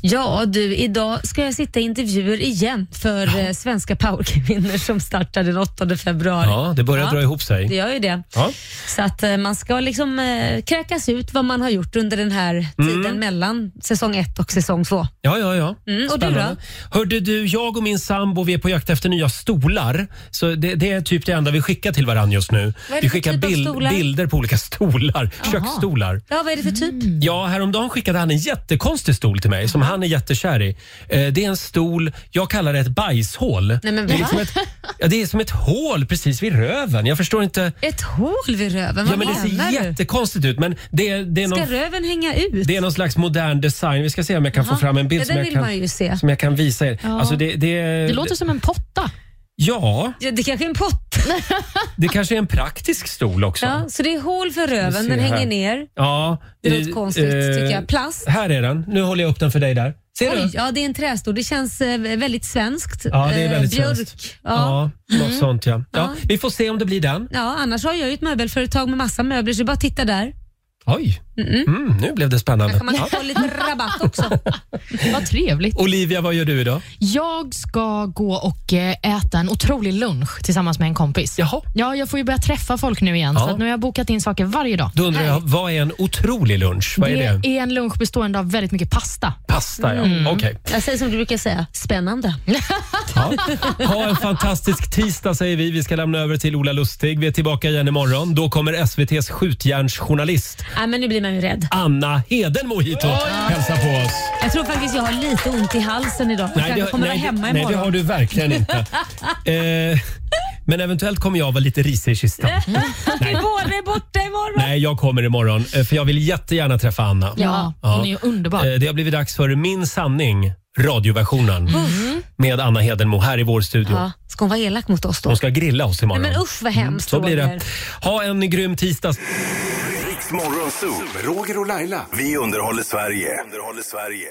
S3: Ja du, idag ska jag sitta i intervjuer igen för eh, svenska powerkvinnor som startar den 8 februari.
S1: Ja, det börjar dra ihop sig.
S3: Det gör ju det.
S1: Ja.
S3: Så att eh, man ska liksom eh, kräkas ut vad man har gjort under den här tiden
S1: Mm.
S3: mellan säsong ett och säsong två.
S1: Ja, ja, ja.
S3: Mm, och du
S1: Spännande. Hörde du, jag och min sambo vi är på jakt efter nya stolar. Så det, det är typ det enda vi skickar till varandra just nu.
S3: Vad är det
S1: Vi
S3: för
S1: skickar
S3: typ av stolar?
S1: bilder på olika stolar,
S3: Jaha.
S1: köksstolar. Mm.
S3: Ja, vad är det för typ?
S1: Ja, häromdagen skickade han en jättekonstig stol till mig som han är jättekär i. Eh, Det är en stol, jag kallar det ett bajshål.
S3: Nej, men
S1: det, är
S3: va?
S1: liksom ett, ja, det är som ett hål precis vid röven. Jag förstår inte.
S3: Ett hål vid röven,
S1: Ja,
S3: vad
S1: men det
S3: menar
S1: ser
S3: du?
S1: jättekonstigt ut men det, är- det är
S3: Ska
S1: någon
S3: röven hänga ut?
S1: det är någon slags modern design. Vi ska se om jag kan
S3: Jaha.
S1: få fram en bild
S3: Ja,
S1: som,
S3: den
S1: jag
S3: vill
S1: kan,
S3: man ju se.
S1: som jag kan visa er.
S4: Ja.
S1: Alltså det, det,
S4: Det låter som en potta.
S1: Ja,
S3: Ja, det kanske är en pott.
S1: det kanske är en praktisk stol också.
S3: ja, så det är hål för
S1: Ska vi
S3: röven,
S1: se
S3: den hänger
S1: här.
S3: ner.
S1: Ja.
S3: Det låter
S1: eh,
S3: konstigt, tycker jag. Plast.
S1: Här är den. Nu håller jag upp den för dig där. Ser
S3: Oj,
S1: du?
S3: ja, det är en trästol. Det känns eh, väldigt svenskt. Eh,
S1: Ja, det är väldigt
S3: Björk.
S1: svenskt.
S3: Ja.
S1: Ja, något
S3: Mm.
S1: sånt ja. ja.
S3: Ja.
S1: Vi får se om det blir den.
S3: ja, annars har jag ju ett möbelföretag med massa möbler, så det är bara att titta där.
S1: Oj,
S3: Mm-mm.
S1: mm, nu blev det spännande.
S3: Kanske man kan
S1: Ja.
S3: få lite rabatt också.
S4: Vad trevligt.
S1: Olivia, vad gör du idag?
S4: Jag ska gå och eh, äta en otrolig lunch tillsammans med en kompis.
S1: Jaha.
S4: Ja, jag får ju börja träffa folk nu igen,
S1: Ja.
S4: så att nu har jag bokat in saker varje dag.
S1: Då undrar jag, vad är en otrolig lunch? Vad är det?
S4: är en lunch bestående av väldigt mycket pasta.
S1: Pasta, ja.
S4: Mm.
S1: Okej.
S3: Jag säger som du brukar säga, spännande.
S1: Ja. Ha en fantastisk tisdag säger vi. Vi ska lämna över till Ola Lustig. Vi är tillbaka igen imorgon. Då kommer SVTs skjutjärnsjournalist
S3: Nej, men nu blir man ju rädd.
S1: Anna Hedenmo hit och hälsa på oss.
S3: Jag tror faktiskt jag har lite ont i halsen idag. Jag kanske kommer
S1: nej,
S3: vara hemma
S1: nej, det
S3: imorgon.
S1: har du verkligen inte. eh, men eventuellt kommer jag vara lite risig i kistan.
S3: Vi båda är borta imorgon.
S1: Nej, jag kommer imorgon eh, för jag vill jättegärna träffa Anna.
S4: Ja, hon är ju underbar.
S1: Eh, Det har blivit dags för Min sanning, radioversionen med Anna Hedenmo här i vår studio.
S3: Ja, ska hon vara elak mot oss då?
S1: Hon ska grilla oss
S3: Nej,
S1: imorgon.
S3: men usch vad hemskt.
S1: Så blir det.
S3: Roger.
S1: Ha en grym tisdag.
S8: Riks Morgonzoo med Roger och Laila. Vi underhåller Sverige. Underhåller Sverige.